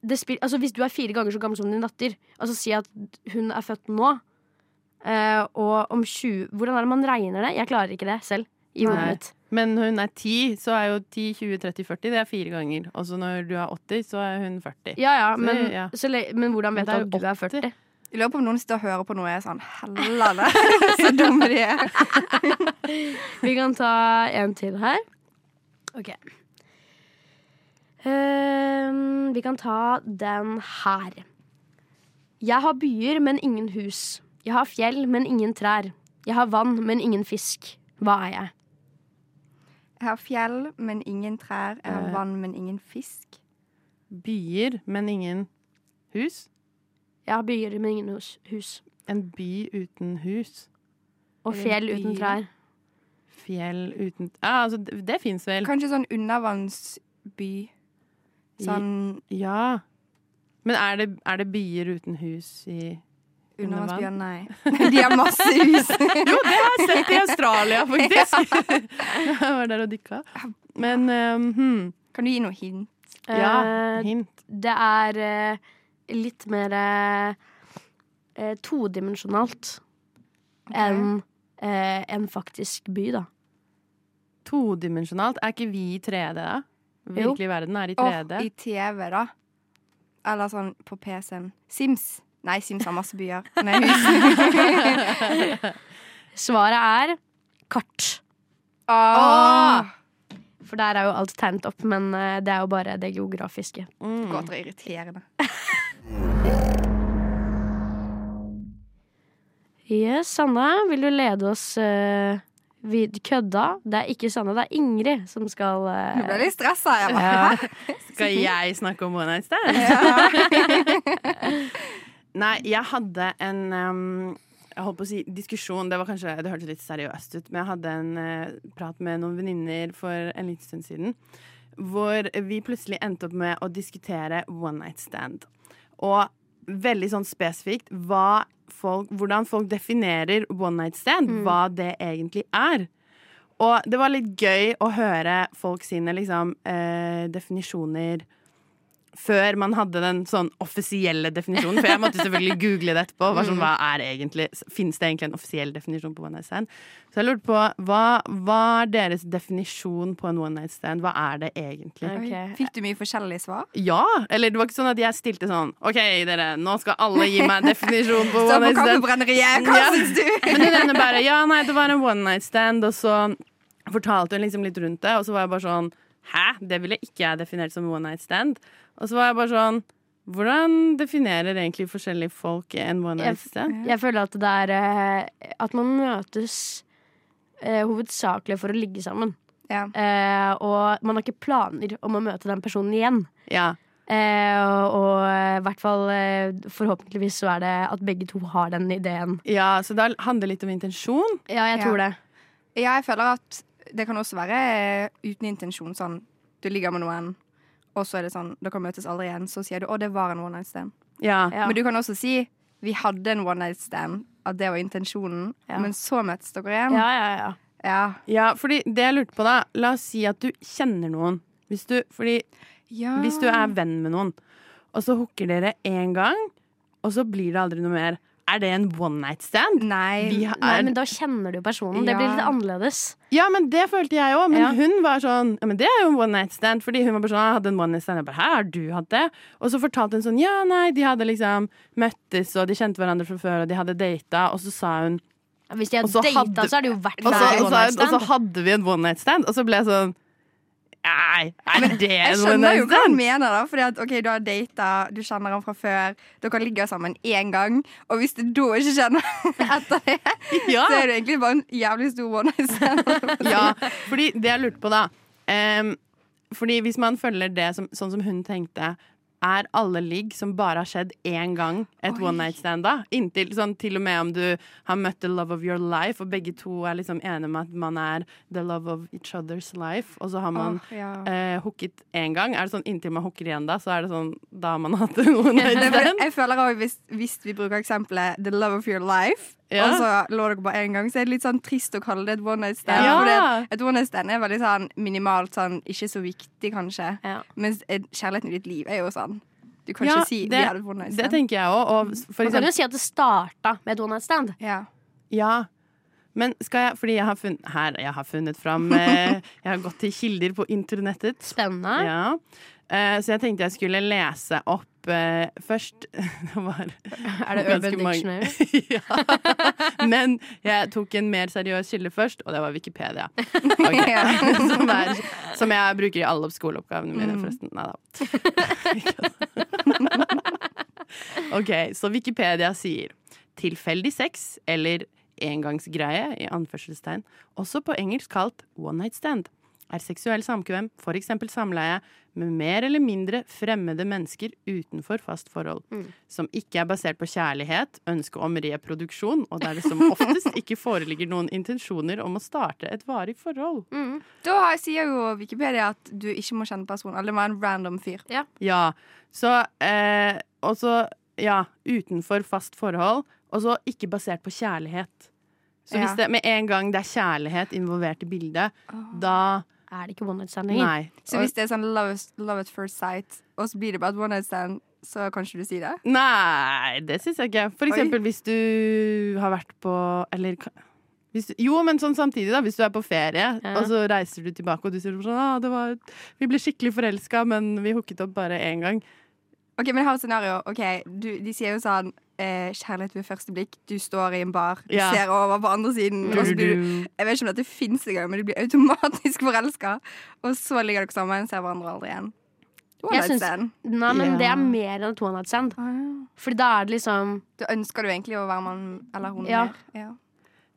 S3: det spil, altså Hvis du er fire ganger så gammel som din datter, altså si at hun er født nå, Eh, og om 20 Hvordan er det man regner det? Jeg klarer ikke det selv. I hodet
S4: Nei.
S3: mitt.
S4: Men når hun er 10, så er jo 10, 20, 30, 40 det er fire ganger. Og så når du er 80, så er hun 40.
S3: Ja, ja,
S4: Så,
S3: men,
S4: ja.
S3: Så, le- men hvordan
S4: Men
S3: vet
S4: det
S3: du
S4: er
S3: at du
S4: jo
S3: er 40?
S4: 80.
S6: Jeg lurer på om noen sitter og hører på noe og er sånn Hellene! Så dumme de er.
S3: Vi kan ta en til her. Ok. Ehm, vi kan ta den her. Jeg har byer, men ingen hus. Jeg har fjell, men ingen trær. Jeg har vann, men ingen fisk. Hva er jeg?
S6: Jeg har fjell, men ingen trær. Jeg
S4: Eh.
S6: har vann, men ingen fisk.
S4: Byer, men ingen hus.
S3: Jeg har byer, men ingen hus. hus.
S4: En by uten hus.
S3: Og fjell uten
S4: byer?
S3: trær.
S4: Fjell uten Ja, altså, det, det fins vel.
S6: Kanskje sånn undervannsby. Sånn
S4: Ja. Men er det, er det byer uten hus i
S6: undervannsbyer, nei. De har masse hus.
S4: Jo, det har jeg sett i Australia, faktisk! Jeg var der og dykka. Men ehm, hmm.
S6: Kan du gi noe hint?
S4: Ja,
S3: Eh,
S4: hint.
S3: det er eh, litt mer eh, eh, todimensjonalt enn eh, en faktisk by, da.
S4: Todimensjonalt. Er ikke vi i 3D, da?
S3: Jo.
S4: Virkelig verden er i
S6: Og
S4: 3D.
S6: i TV, da. Eller sånn på PC-en. Sims. Nei, Sims har masse byer med hus.
S3: Svaret er kart.
S6: Åh,
S3: For der er jo alt tegnet opp, men eh, det er jo bare det geografiske.
S6: Godt og irriterende.
S3: Yes, Sanne, vil du lede oss eh, vid kødda? Det er ikke Sanne, det er Ingrid som skal eh,
S6: Nå ble jeg litt stressa. Jeg bare, hæ?
S4: Skal jeg snakke om One Night Stand? Nei, jeg hadde en ehm, jeg holdt på å si diskusjon, det, var kanskje, det hørtes litt seriøst ut, men jeg hadde en eh, prat med noen venninner for en liten stund siden, hvor vi plutselig endte opp med å diskutere one night stand. Og veldig sånn spesifikt hva folk, hvordan folk definerer one night stand, hva det egentlig er. Og det var litt gøy å høre folk sine liksom, eh, definisjoner før man hadde den sånn offisielle definisjonen. For jeg måtte selvfølgelig google det etterpå. Hva, sånn, hva er egentlig, Finnes det egentlig en offisiell definisjon på one night stand? Så jeg lurte på, hva, hva er deres definisjon på en one night stand? Hva er det egentlig?
S3: Ok.
S6: Fikk du mye forskjellige svar?
S4: Ja! Eller det var ikke sånn at jeg stilte sånn OK, dere, nå skal alle gi meg en definisjon på
S6: Stå
S4: one
S6: på
S4: night stand.
S6: kaffebrenneriet, hva
S4: Ja.
S6: syns du?
S4: Men hun ene bare Ja, nei, det var en one night stand, og så fortalte hun liksom litt rundt det, og så var jeg bare sånn Hæ? Det ville ikke jeg definert som one night stand. Og så var jeg bare sånn Hvordan definerer egentlig forskjellige folk en one
S3: Jeg-
S4: night stand?
S3: Jeg føler at det er eh, at man møtes eh, hovedsakelig for å ligge sammen.
S6: Ja.
S3: Eh, og man har ikke planer om å møte den personen igjen.
S4: Ja.
S3: Eh, og og eh, i hvert fall eh, forhåpentligvis så er det at begge to har den ideen.
S4: ja, så det handler litt om intensjon.
S3: Ja, jeg
S6: Ja.
S3: tror det.
S6: ja, jeg føler at det kan også være eh, uten intensjon sånn Du ligger med noen, og så er det sånn Dere møtes aldri igjen. Så sier du 'Å, det var en one night stand'.
S4: Ja.
S3: Ja.
S6: Men du kan også si 'Vi hadde en one night stand', at det var intensjonen.
S3: Ja.
S6: Men så møttes dere igjen.
S3: Ja, ja, ja.
S6: Ja.
S4: ja, fordi det jeg lurte på, da La oss si at du kjenner noen. Hvis du, fordi
S6: Ja.
S4: Hvis du er venn med noen, og så hooker dere én gang, og så blir det aldri noe mer. Er det en one night stand?
S6: Nei.
S4: Vi
S3: Nei,
S4: er,
S3: men da kjenner du personen. Det
S6: Ja.
S3: blir litt annerledes.
S4: ja, men det følte jeg òg. Men
S3: Ja.
S4: hun var sånn Ja, men det er jo en one night stand. Fordi hun var bare sånn, jeg hadde en one night stand. Jeg bare, Hæ, har du hatt det? Og så fortalte hun sånn, ja, nei, de hadde liksom møttes, og de kjente hverandre fra før, og de hadde data, og så sa hun
S3: Hvis de har
S4: Og så
S3: data,
S4: hadde-
S3: så er det jo hvert
S4: og så,
S3: fall
S4: og,
S3: one
S4: så,
S3: night
S4: og så
S3: stand.
S4: hadde vi en one night stand, og så ble jeg sånn Nei, er det en one
S6: Jeg skjønner jo
S4: night
S6: hva han
S4: stand?
S6: mener, da. Fordi at, ok, Du har data, du kjenner han fra før. Dere ligger sammen én gang. Og hvis du da ikke kjenner etter det,
S4: Ja.
S6: så er det egentlig bare en jævlig stor one night stand.
S4: Ja, fordi det jeg lurte på da ehm, Fordi hvis man følger det som, sånn som hun tenkte Er alle ligg som bare har skjedd én gang Et
S6: Oi.
S4: one night stand da Inntil sånn til og med om du har møtt the love of your life Og begge to er liksom enige om at man er the love of each other's life Og så har man
S6: Åh, ja.
S4: eh, hooket én gang Er det sånn inntil man hooker igjen da Så er det sånn, da har man hatt en one night
S6: Nei, men
S4: stand
S6: jeg føler også, hvis, hvis vi bruker eksempelet 'the love of your life',
S4: Ja.
S6: og så lå dere bare én gang, så er det litt sånn trist å kalle det et one night stand.
S4: Ja.
S6: Fordi at et one night stand er veldig sånn minimalt, sånn ikke så viktig, kanskje.
S3: Ja.
S6: Mens eh, kjærligheten i ditt liv er jo sånn Du kan
S4: Ja,
S6: ikke si
S4: det-
S6: vi hadde one night
S4: Det
S6: stand.
S4: tenker jeg òg. Og s- for
S3: Man kan
S4: eksempel
S3: jo si at det starta med et one night stand.
S6: Ja.
S4: Ja. Men skal jeg Fordi jeg har funnet Her, jeg har funnet fram eh, Jeg har gått til kilder på internettet.
S3: Spennende.
S4: Ja. Eh, så jeg tenkte jeg skulle lese opp eh, først Det var
S3: Er det
S4: ganske
S3: Urban
S4: mange-
S3: Dictionary?
S4: ja. Men jeg tok en mer seriøs kilde først, og det var Wikipedia. Ok.
S6: Ja.
S4: Som, er, som jeg bruker i alle skoleoppgavene mine, forresten. Nei da. OK, så Wikipedia sier tilfeldig sex eller engangsgreie, i anførselstegn, også på engelsk kalt one night stand, er seksuell samkvem, f.eks. samleie, med mer eller mindre fremmede mennesker utenfor fast forhold, som ikke er basert på kjærlighet, ønske om reproduksjon, og der det som oftest ikke foreligger noen intensjoner om å starte et varig forhold.
S6: Da har- sier jo Wikipedia at du ikke må kjenne personen. Eller det var en random fyr.
S4: Ja, så eh, Og så, ja, utenfor fast forhold. Og så ikke basert på kjærlighet. Så hvis
S6: Ja.
S4: det med en gang det er kjærlighet involvert i bildet, da
S3: Er det ikke one night stand lenger?
S4: Nei.
S6: Så hvis det er sånn love, love at first sight, og så blir det bare et one night stand, så kan ikke du si det?
S4: Nei, det syns jeg ikke. For
S6: Oi.
S4: eksempel hvis du har vært på Eller ka- hvis du, jo, men sånn samtidig, da. Hvis du er på ferie,
S3: Ja.
S4: og så reiser du tilbake, og du sier sånn ah, det var, 'Vi ble skikkelig forelska, men vi hooket opp bare én gang'.
S6: Ok, men jeg har et scenario. Ok, du, de sier jo sånn eh, Kjærlighet ved første blikk. Du står i en bar, du
S4: Ja.
S6: ser over på andre siden. Og så blir du, jeg vet ikke om dette fins engang, men du blir automatisk forelska. Og så ligger dere sammen, ser hverandre aldri igjen. One
S3: Jeg
S6: night
S3: syns-
S6: stand.
S3: Nei, men
S4: Ja.
S3: det er mer enn et one night stand. Fordi da er det liksom
S6: Da ønsker du egentlig å være mann eller hun
S3: Ja.
S6: mer. Ja.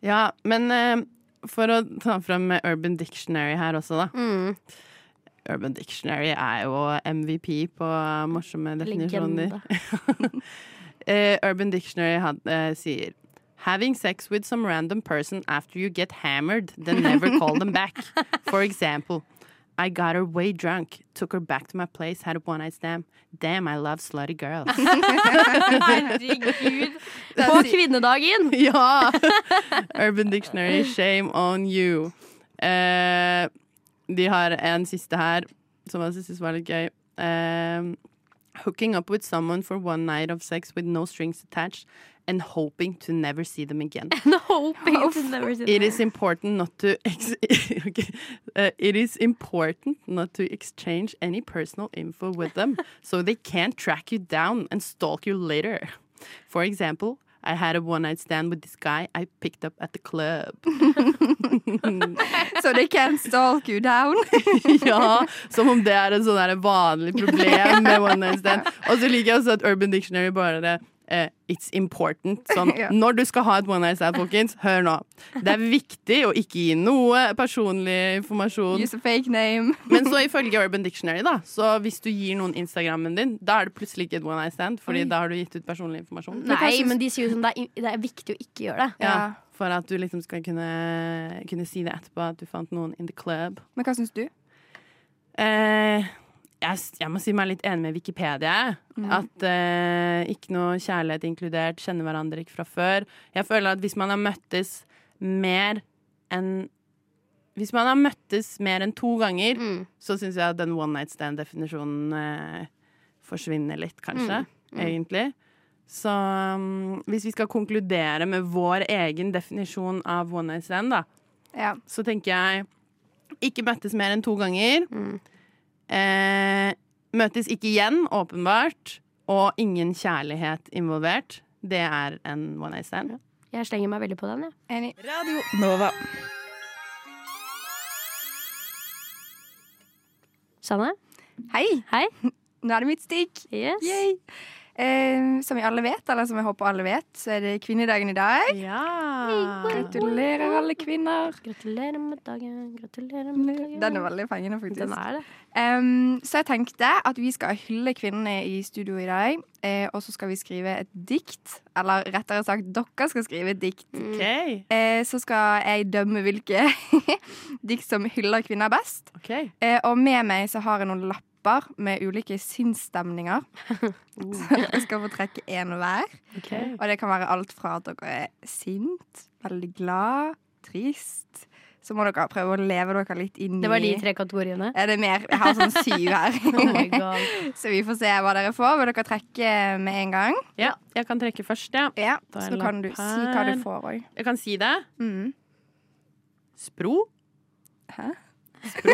S4: Ja, men eh, for å ta fram eh, Urban Dictionary her også, da.
S3: mm,
S4: Urban Dictionary er jo MVP på morsomme definisjoner.
S3: legende.
S4: Eh, Urban Dictionary had, eh, sier Having sex with some random person after you get hammered, then never call them back. For example, I got her way drunk, took her back to my place, had a one night stand. Damn, I love slutty girls.
S3: Herregud. På kvinnedagen!
S4: ja! Urban Dictionary, shame on you. Eh, de har en siste her, som jeg synes var litt gøy. Eh, hooking up with someone for one night of sex with no strings attached and hoping to never see them again.
S3: No hoping to never see
S4: It is important not to ex okay. Uh, it is important not to exchange any personal info with them, so they can't track you down and stalk you later. For example, I had a one night stand with this guy I picked up at the club.
S6: So they can stalk you down.
S4: ja, som om det er en sånn der vanlig problem med one night stand. Og så liker jeg også at Urban Dictionary bare det. eh, it's important. Sånn,
S6: Ja.
S4: Når du skal ha et one night stand, folkens, hør nå. Det er viktig å ikke gi noe personlig informasjon.
S6: Use a fake name.
S4: Men så ifølge Urban Dictionary, da, så hvis du gir noen Instagrammen din, da er det plutselig ikke et one night stand, fordi da har du gitt ut personlig informasjon.
S3: Nei, men de sier jo sånn det er, i- det er viktig å ikke gjøre det.
S4: Ja, for at du liksom skal kunne, kunne si det etterpå, at du fant noen in the club.
S6: Men hva syns du?
S4: Eh, jeg, s- jeg må si meg litt enig med Wikipedia. At eh, ikke noe kjærlighet inkludert, kjenner hverandre ikke fra før. Jeg føler at hvis man har møttes mer enn Hvis man har møttes mer enn to ganger,
S3: Mm.
S4: så syns jeg at den one night stand-definisjonen eh, forsvinner litt, kanskje. Egentlig. Så mm, hvis vi skal konkludere med vår egen definisjon av one night stand, da,
S6: Ja.
S4: så tenker jeg ikke møttes mer enn to ganger. Eh, møtes ikke igjen, åpenbart. Og ingen kjærlighet involvert. Det er en one night stand.
S3: Jeg slenger meg veldig på den, jeg.
S6: Enig.
S7: Radio Nova.
S3: Sanne?
S6: Hei!
S3: Hei.
S6: Nå er det mitt stikk.
S3: Yes.
S6: Yay. Eh, som vi alle vet, eller som jeg håper alle vet, så er det kvinnedagen i dag.
S4: Ja!
S6: Gratulerer, alle kvinner.
S3: Gratulerer med dagen, gratulerer med dagen.
S6: Den er veldig fengende, faktisk.
S3: Den er det.
S6: Em, så jeg tenkte at vi skal hylle kvinnene i studio i dag. eh, og så skal vi skrive et dikt. Eller rettere sagt, dere skal skrive et dikt.
S4: OK.
S6: Eh, så skal jeg dømme hvilke dikt som hyller kvinner best.
S4: ok.
S6: Eh, og med meg så har jeg noen lapper med ulike sinnsstemninger. Så jeg skal få trekke én hver. Og det kan være alt fra at dere er sint, veldig glad, trist, så må dere prøve å leve dere litt inn i
S3: Det var de tre kategoriene.
S6: Er det mer? Jeg har sånn syv
S3: Oh my
S6: her.
S3: god.
S6: så vi får se hva dere får. Vil dere trekke med en gang?
S4: Ja, jeg kan trekke først, ja.
S6: Ja,
S4: Da er
S6: så
S4: det
S6: kan
S4: lapp
S6: du si hva
S4: her.
S6: du får òg.
S4: Jeg kan si det.
S6: Mm.
S4: Spro.
S6: Hæ?
S4: Spro?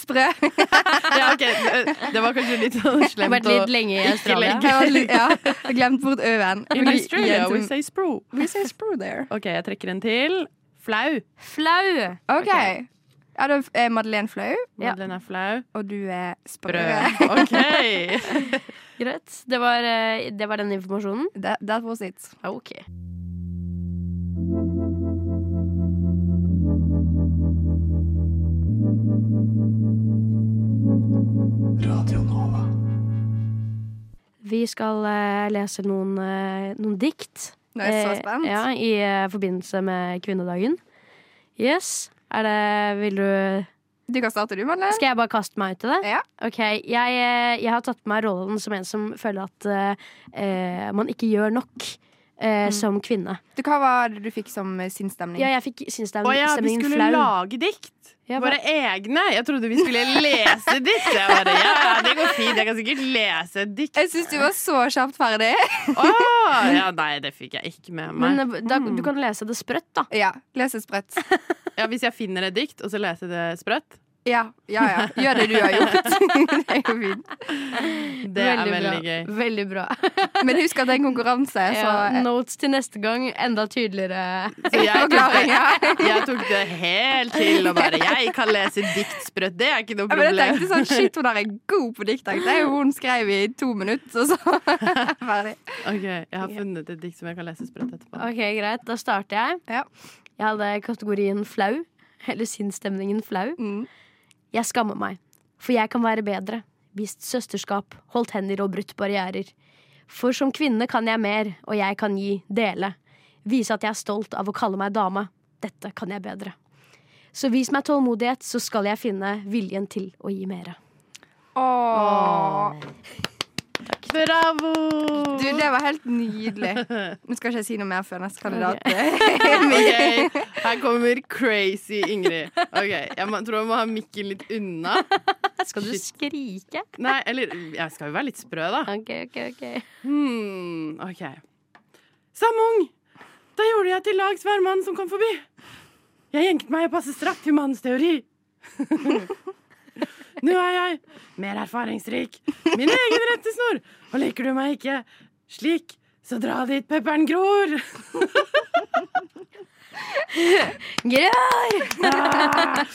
S6: Sprø.
S4: Ja, OK. Det var kanskje litt sånn
S3: Jeg har
S4: slemt
S3: vært
S4: å
S3: litt lenge i Australia.
S6: Jeg har litt- ja, jeg har glemt bort ø-en.
S4: In Australia
S3: Liksom.
S4: we say spro.
S6: We say sprue there.
S4: OK, jeg trekker en til. Flau.
S3: Flau!
S6: OK. Ja, da er Madeleine flau,
S3: Ja.
S4: Den er flau.
S6: og du er sprø.
S4: Brød. OK.
S3: Greit. Det var, eh, det var den informasjonen.
S6: That, that was it.
S3: Ok. Vi skal eh, lese noen, eh, noen dikt.
S6: Nå er jeg så
S3: Eh,
S6: spent.
S3: Ja, I eh, forbindelse med kvinnedagen. Yes. Er det Vil du
S6: Du kan starte, du, Madeleine.
S3: Skal jeg bare kaste meg ut i det?
S6: Ja.
S3: Ok, jeg, eh, jeg har tatt på meg rollen som en som føler at eh, eh, man ikke gjør nok eh,
S6: Mm.
S3: som kvinne.
S6: Du, hva var det du fikk som eh, sinnsstemning?
S3: Ja, jeg fikk sinnsstem-
S4: Å ja, vi
S3: stemningen
S4: skulle
S3: flau.
S4: lage dikt.
S3: Ja, hva-
S4: Våre egne. Jeg trodde vi skulle lese dikt. Jeg bare, ja, ja, det går fint. Jeg kan sikkert lese et dikt.
S6: Jeg syns du var så kjapt ferdig.
S4: Å, ja, nei, det fikk jeg ikke med
S3: Men
S4: meg.
S3: eh, da,
S6: Mm.
S3: du kan lese det sprøtt, da.
S6: Ja. Les et sprøtt.
S4: Ja, hvis jeg finner et dikt, og så leser jeg det sprøtt,
S6: Ja, ja, ja. Gjør det du har gjort. det er jo fint.
S4: det er veldig
S3: bra.
S4: gøy.
S3: Veldig bra.
S6: Men husk at det er en konkurranse, så eh,
S3: Ja, notes til neste gang. Enda tydeligere.
S4: Så jeg tok,
S6: Forklaring, ja.
S4: det, jeg tok det helt til og bare Jeg kan lese dikt sprøtt, det er ikke noe
S6: Ja, men jeg
S4: problem.
S6: tenkte sånn, Shit, hun der er god på dikt. tenkte jeg. Hun skrev i to minutter, og så ferdig.
S4: Ok, Jeg har funnet et dikt som jeg kan lese sprøtt etterpå.
S3: Ok, Greit, da starter jeg.
S6: Ja.
S3: Jeg hadde kategorien flau. Eller sinnsstemningen flau.
S6: Mm.
S3: Jeg skammer meg, for jeg kan være bedre. Vist søsterskap, holdt hender og brutt barrierer. For som kvinne kan jeg mer, og jeg kan gi, dele. Vise at jeg er stolt av å kalle meg dame. Dette kan jeg bedre. Så vis meg tålmodighet, så skal jeg finne viljen til å gi mere.
S6: Åh.
S4: Bravo!
S6: Du, det var helt nydelig. Nå skal ikke jeg si noe mer før neste kandidat.
S4: Ok, Her kommer crazy Ingrid. Ok, Jeg må, tror jeg må ha mikken litt unna.
S3: Skal du skrike?
S4: Nei, eller Jeg skal jo være litt sprø, da.
S3: Ok, ok, ok.
S4: Hmm, ok Samung! Da gjorde jeg til lags hver mann som kom forbi. Jeg jenket meg og passet strapp til mannens teori. Nå er jeg mer erfaringsrik, min egen rettesnor, og liker du meg ikke slik, så dra dit pepperen gror.
S3: Grei!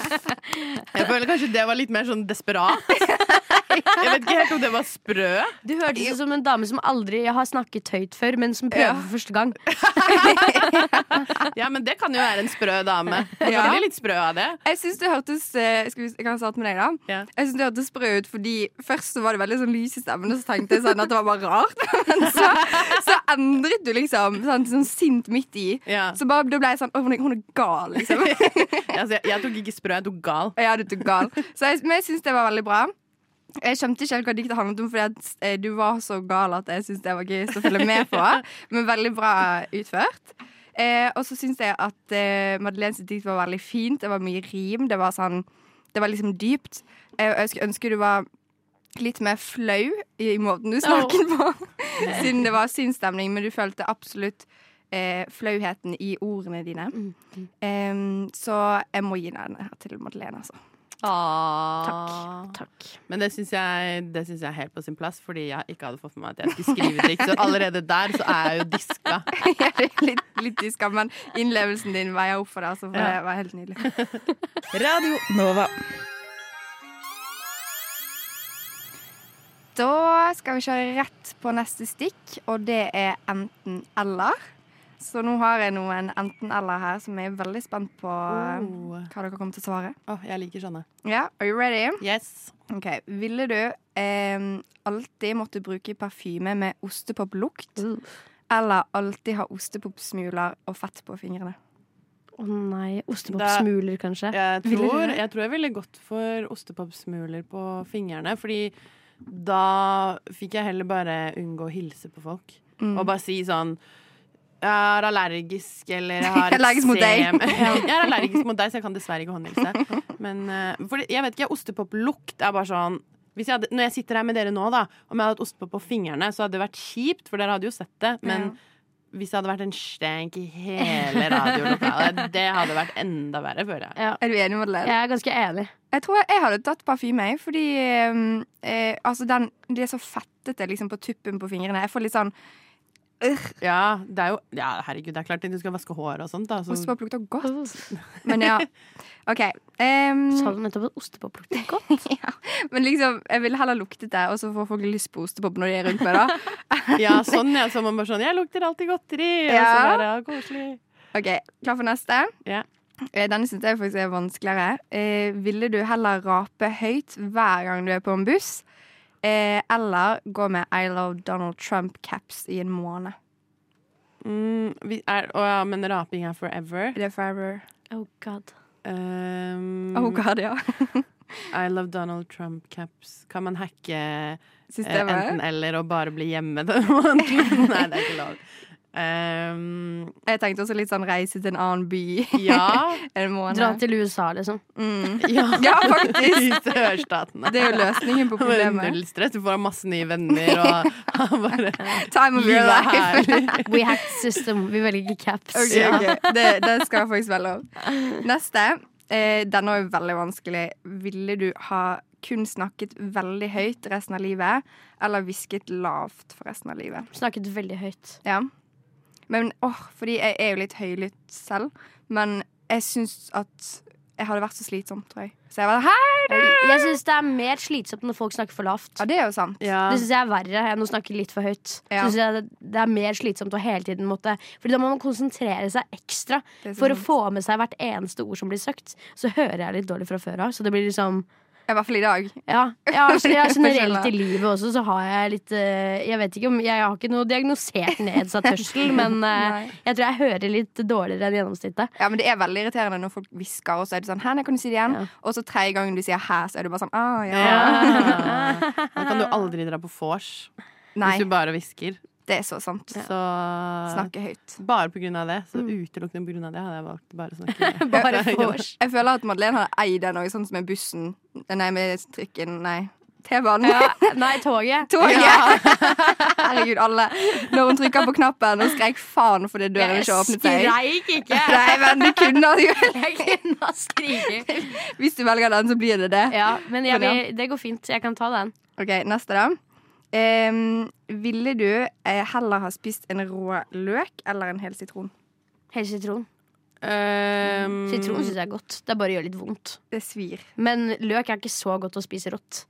S4: Jeg føler kanskje det var litt mer sånn desperat. Jeg vet ikke helt om det var sprø.
S3: Du hørtes ut som en dame som aldri har snakket høyt før, men som prøver
S6: Ja.
S3: for første gang.
S4: Ja, men det kan jo være en sprø dame. Man
S6: Ja.
S4: kan bli litt sprø av det.
S6: Jeg syns det hørtes eh, Skal vi, jeg kan starte med deg, da.
S4: Ja.
S6: Jeg synes det hørtes sprø ut, fordi først så var det veldig sånn lys i stemmen, og så tenkte jeg sånn at det var bare rart. Men så, så endret du liksom sånn, sånn sint midt i.
S4: Ja.
S6: Så bare, da ble jeg sånn Å, hun er- hun er gal, liksom.
S4: Altså, jeg, jeg tok ikke sprø, jeg tok gal.
S6: Ja, du tok gal. Så jeg, men jeg syns det var veldig bra. Jeg skjønte ikke helt hva diktet handlet om, fordi at eh, du var så gal at jeg syntes det var gøyest å følge med på. Men veldig bra utført. Eh, og så syns jeg at eh, Madeleines dikt var veldig fint. Det var mye rim. Det var sånn Det var liksom dypt. Eh, og jeg skulle ønske du var litt mer flau i, i måten du snakket på, siden det var sinnsstemning, men du følte absolutt eh, flauheten i ordene dine. Eh, så jeg må gi den her til Madeleine, altså.
S4: Takk.
S3: Takk.
S4: Men det syns jeg, det synes jeg er helt på sin plass, fordi jeg ikke hadde fått med meg at jeg skulle skrive dikt. Så allerede der så er jeg jo diska.
S6: Ja, det er litt, litt diska, men innlevelsen din veier opp for det. Altså, for
S4: Ja.
S6: Det var helt nydelig.
S7: Radio Nova.
S6: Da skal vi kjøre rett på neste stikk, og det er enten-eller. Så nå har jeg noen enten-eller her som jeg er veldig spent på eh,
S4: Åh,
S6: hva dere kommer til å svare.
S4: jeg liker sånne.
S6: Ja, Are you ready?
S4: Yes.
S6: Ok, Ville du eh, alltid måtte bruke parfyme med ostepoplukt,
S4: Mm.
S3: Uh.
S6: eller alltid ha ostepopsmuler og fett på fingrene?
S3: Å nei.
S4: Da-
S3: Ostepopsmuler, kanskje.
S4: Jeg
S6: Ville du
S4: tror,
S6: det?
S4: jeg tror jeg ville gått for ostepopsmuler på fingrene, fordi
S6: Mm.
S4: da fikk jeg heller bare unngå å hilse på folk. Og bare si sånn er allergisk eller jeg har
S6: Allergisk mot deg.
S4: eksem. Ja, Jeg er allergisk mot deg, så jeg kan dessverre ikke håndhilse. Men eh, fordi, jeg vet ikke, ostepoplukt er bare sånn hvis jeg hadde, Når jeg sitter her med dere nå, da, om jeg hadde hatt ostepop på fingrene, så hadde det vært kjipt, for dere hadde jo sett det. Men hvis det hadde vært en stenk i hele radiolokalet, det hadde vært enda verre, føler jeg.
S6: Er du enig, Madeleine?
S3: Jeg er ganske enig.
S6: Jeg tror jeg, jeg hadde tatt parfyme, jeg, fordi ehm, eh, altså den, det er så fettete liksom, på tuppen på fingrene. Jeg får litt sånn Urr,
S4: Ja, det er jo, ja, herregud, det er klart du skal vaske håret og sånt, da. Så
S6: Ostepop lukter godt. Men ja. OK. ehm,
S3: Sa du nettopp at ostepop lukter godt?
S6: men liksom, jeg ville heller luktet det, og så får folk lyst på ostepop når de er rundt meg, da.
S4: Ja, sånn, ja. Så man bare sånn Jeg lukter alltid godteri. Og så
S6: Ja.
S4: bare, ja, koselig.
S6: Ok, klar for neste?
S4: Ja.
S6: Eh, Denne synes jeg faktisk er vanskeligere. Eh, ville du heller rape høyt hver gang du er på en buss, eh, eller gå med I love Donald Trump-caps i en måned?
S4: Mm, vi er, å ja, men raping er forever.
S6: Det er forever.
S3: Oh god.
S4: Um,
S6: Oh god, ja.
S4: I love Donald Trump caps. Kan man hacke eh,
S6: Systemet.
S4: enten-eller og bare bli hjemme den måneden? Nei, det er ikke lov. Um,
S6: Jeg tenkte også litt sånn reise til en annen by
S4: ja.
S6: en måned.
S3: Dra til USA, liksom.
S6: Mm.
S4: ja.
S6: Ja, faktisk.
S4: Ut til ørstatene.
S6: Det er jo løsningen på problemet.
S4: Null stress. Du får masse nye venner og bare
S6: Time of your
S4: Livet er
S6: life.
S4: herlig.
S3: We hacked system. Vi velger ikke caps.
S6: Ok,
S4: Ja.
S6: ok. Det, det skal jeg faktisk velge om. Neste. Eh, denne er veldig vanskelig. Ville du ha kun snakket veldig høyt resten av livet, eller hvisket lavt for resten av livet?
S3: Snakket veldig høyt.
S6: Ja. Men åh, fordi jeg er jo litt høylytt selv, men jeg syns at jeg hadde vært så slitsom, tror jeg. Så jeg var Hæ?
S3: Jeg syns det er mer slitsomt når folk snakker for lavt.
S6: Ja, det er jo sant.
S4: Ja.
S3: Det syns jeg er verre enn å snakke litt for høyt.
S6: Ja.
S3: Synes jeg det- Det er mer slitsomt å hele tiden måtte Fordi da må man konsentrere seg ekstra
S6: Det er så
S3: for å
S6: sant.
S3: få med seg hvert eneste ord som blir søkt. Så hører jeg litt dårlig fra før av, så det blir liksom
S6: I hvert fall i dag.
S3: Ja, ja altså, ja, generelt i
S6: Forskjellig.
S3: livet også så har jeg litt eh, Jeg vet ikke om Jeg har ikke noe diagnosert nedsatt hørsel, men eh,
S6: Nei.
S3: jeg tror jeg hører litt dårligere enn gjennomsnittet.
S6: Ja, men Det er veldig irriterende når folk hvisker, og så er det sånn Hæ, nei, kan du si det igjen? Og så tredje gangen du sier hæ, så er du bare sånn Å, ja.
S4: Ja. Da kan du aldri dra på vors
S6: Nei,
S4: hvis du bare hvisker.
S6: det er så sant.
S4: Så
S6: Snakke høyt.
S4: bare på grunn av det. Så utelukkende på grunn av det hadde jeg valgt bare å snakke.
S3: Bare vors.
S6: Jeg føler at Madeleine hadde eid den òg, sånn som med bussen. Nei, med trikken. Nei, T-banen.
S3: Ja, nei, toget.
S6: Toget! Herregud, alle. Når hun trykka på knappen og skrek faen fordi døren ikke åpnet seg.
S3: skreik ikke.
S6: Nei, men du kunne altså-
S3: Jeg kunne ha skriket.
S6: Hvis du velger den, så blir det det.
S3: Ja, men jeg,
S6: Men ja.
S3: vil- det går fint. Jeg kan ta den.
S6: Ok, Neste, da. Ehm, ville du eh, heller ha spist en rå løk eller en hel sitron?
S3: Hele sitron.
S4: Um,
S3: Mm. Sitron syns jeg er godt. Det er bare gjør litt vondt.
S6: Det svir.
S3: Men løk er ikke så godt å spise rått.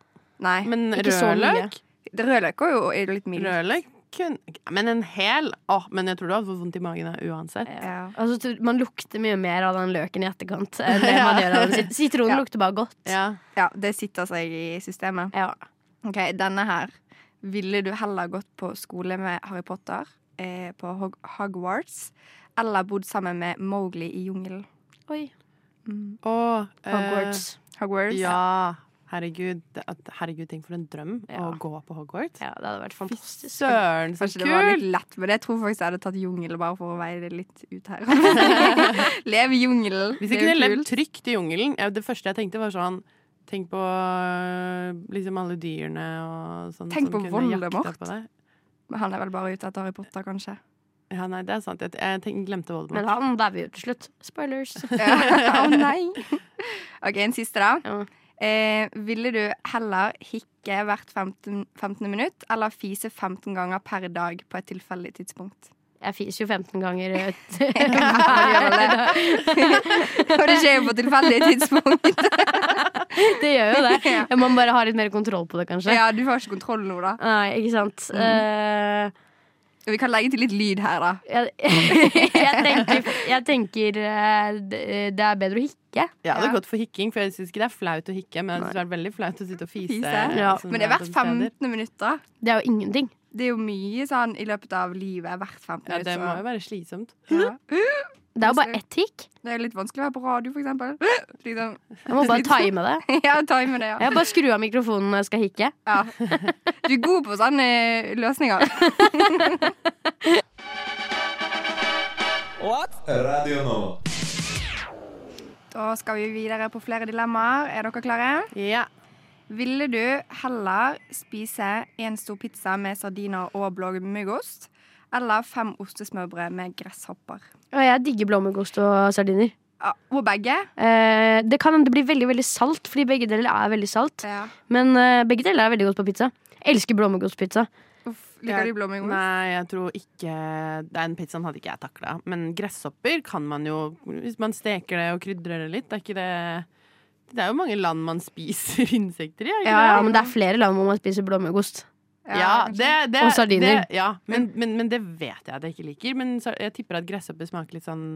S6: Nei. Men
S4: Men
S3: Ikke så mye.
S4: rødløk?
S6: rødløk er jo er jo litt mild.
S4: Rødløk kun, men en hel? Åh, men jeg tror du hadde fått vondt i magen av uansett.
S6: Ja.
S3: Altså, tror- man lukter mye mer av den løken i etterkant enn det man gjør av den. sit- Sitronen
S6: Ja.
S3: lukter bare godt.
S4: Ja.
S6: ja, det sitter seg i systemet.
S3: Ja.
S6: Ok, denne her. Ville du heller gått på skole med Harry Potter eh, på Hog Hogwarts, eller bodd sammen med Mowgli i jungelen?
S3: Oi.
S4: Og eh,
S3: Hogwarts.
S6: Hogwarts?
S4: ja. Herregud, det- at- herregud, tenk for en drøm
S3: Ja.
S4: å gå på Hogwarts.
S3: Eh, Ja, det hadde vært fantastisk.
S4: Søren, så
S6: Kanskje det var litt
S4: kult!
S6: lett, men jeg tror faktisk jeg hadde tatt jungel bare for å veie det litt ut her. Leve i jungelen.
S4: Hvis
S6: det
S4: jeg
S6: er jo
S4: kunne levd
S6: kult.
S4: trygt i jungelen eh, Det første jeg tenkte, var sånn Tenk på eh, liksom alle dyrene og sånn
S6: Tenk
S4: som
S6: på
S4: kunne jakta
S6: Voldemort.
S4: på deg.
S6: Men han er vel bare ute etter Harry Potter, kanskje.
S4: Ja, nei, det er sant. Jeg, jeg tenk, glemte
S3: Men
S4: Voldemort.
S3: han dauer jo til slutt. Spoilers.
S6: Å nei! OK, en siste, da.
S3: Ja.
S6: Eh, ville du heller hikke hvert 15. 15. minutt eller fise 15 ganger per dag på et tilfeldig tidspunkt?
S3: Jeg fiser jo 15 ganger. ut.
S6: Og det skjer jo på tilfeldige tidspunkt.
S3: Det gjør jo det. Man bare har litt mer kontroll på det, kanskje.
S6: Ja, du har ikke kontroll nå, da.
S3: Nei, ikke sant.
S6: Mm.
S3: Eh,
S6: Vi kan legge til litt lyd her, da.
S3: jeg, jeg tenker, jeg tenker eh, det det er bedre å hikke.
S4: Jeg hadde
S6: Ja.
S4: gått for hikking, for jeg syns ikke det er flaut å hikke, men jeg synes det er veldig flaut å sitte og fise.
S6: Fise.
S3: Ja.
S4: sånn
S6: Men det er hvert
S4: random steder.
S6: 15. minutt, da.
S3: Det er jo ingenting.
S6: Det er jo mye sånn i løpet av livet. Hvert 15
S4: Ja,
S6: minutt.
S4: det må
S6: så-
S4: jo være slitsomt.
S6: Ja.
S3: Det er jo bare ett hikk.
S6: Det er jo litt vanskelig å være på radio, for eksempel. Liksom.
S3: Jeg må bare time det.
S6: Ja, time det, ja.
S3: Jeg bare skru av mikrofonen når jeg skal hikke.
S6: ja. Du er god på sånne eh, løsninger.
S1: Radio Nova.
S6: Da skal vi videre på flere dilemmaer. Er dere klare?
S4: Ja.
S6: Ville du heller spise en stor pizza med sardiner og blåmuggost, eller fem ostesmørbrød med gresshopper?
S3: Og jeg digger blåmuggost og sardiner.
S6: Ja, og begge.
S3: Eh, det kan hende det blir veldig veldig salt, fordi begge deler er veldig salt.
S6: Ja.
S3: Men eh, begge deler er veldig godt på pizza. Elsker blåmuggostpizza.
S6: Uff, liker du blåmuggost?
S4: Nei, jeg tror ikke Den pizzaen hadde ikke jeg takla. Men gresshopper kan man jo Hvis man steker det og krydrer det litt, er ikke det Det er jo mange land man spiser insekter i, er ikke
S3: Ja,
S4: det?
S3: ja, men det er flere land hvor man spiser blåmuggost.
S4: Ja, det, det,
S3: Og sardiner.
S4: Det, ja, men, men, men det vet jeg at jeg ikke liker. Men så, jeg tipper at gresshopper smaker litt sånn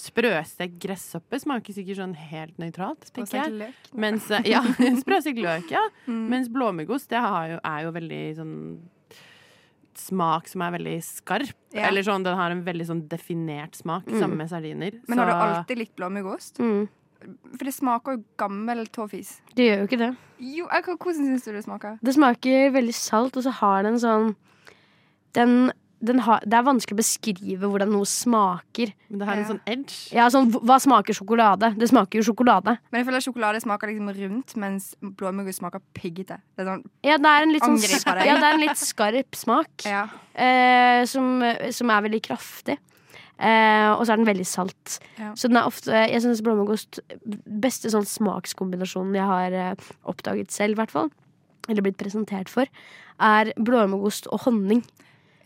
S4: Sprøstekt gresshoppe smaker sikkert sånn helt nøytralt, tenker jeg. Mens, eh, ja, sprøstekt løk, ja.
S6: Mm.
S4: Mens blåmuggost det har jo, er jo veldig sånn Smak som er veldig skarp.
S6: Ja. Mm.
S4: Eller sånn, Den har en veldig sånn definert smak, sammen med sardiner.
S6: Men har du
S4: Så-
S6: alltid likt blåmuggost?
S3: Mm.
S6: For det smaker jo gammel tåfis.
S3: Det gjør jo ikke det.
S6: Jo, jeg- hvordan syns du det smaker?
S3: Det smaker veldig salt, og så har den sånn den, den har, Det er vanskelig å beskrive hvordan noe smaker.
S4: Men det har en
S6: Ja.
S4: sånn edge.
S3: Ja, sånn, Hva smaker sjokolade? Det smaker jo sjokolade.
S6: Men jeg føler sjokolade smaker liksom rundt, mens blåmuggost smaker piggete. Det er sånn,
S3: Ja, det er en litt, sånn,
S6: Angriper deg.
S3: ja, det er en litt skarp smak
S6: ja.
S3: eh, som, som er veldig kraftig. Eh, og så er den veldig salt.
S6: Ja.
S3: Så den er ofte, jeg syns blåmuggost Beste sånn smakskombinasjonen jeg har eh, oppdaget selv, i hvert fall. Eller blitt presentert for. Er blåmuggost og honning.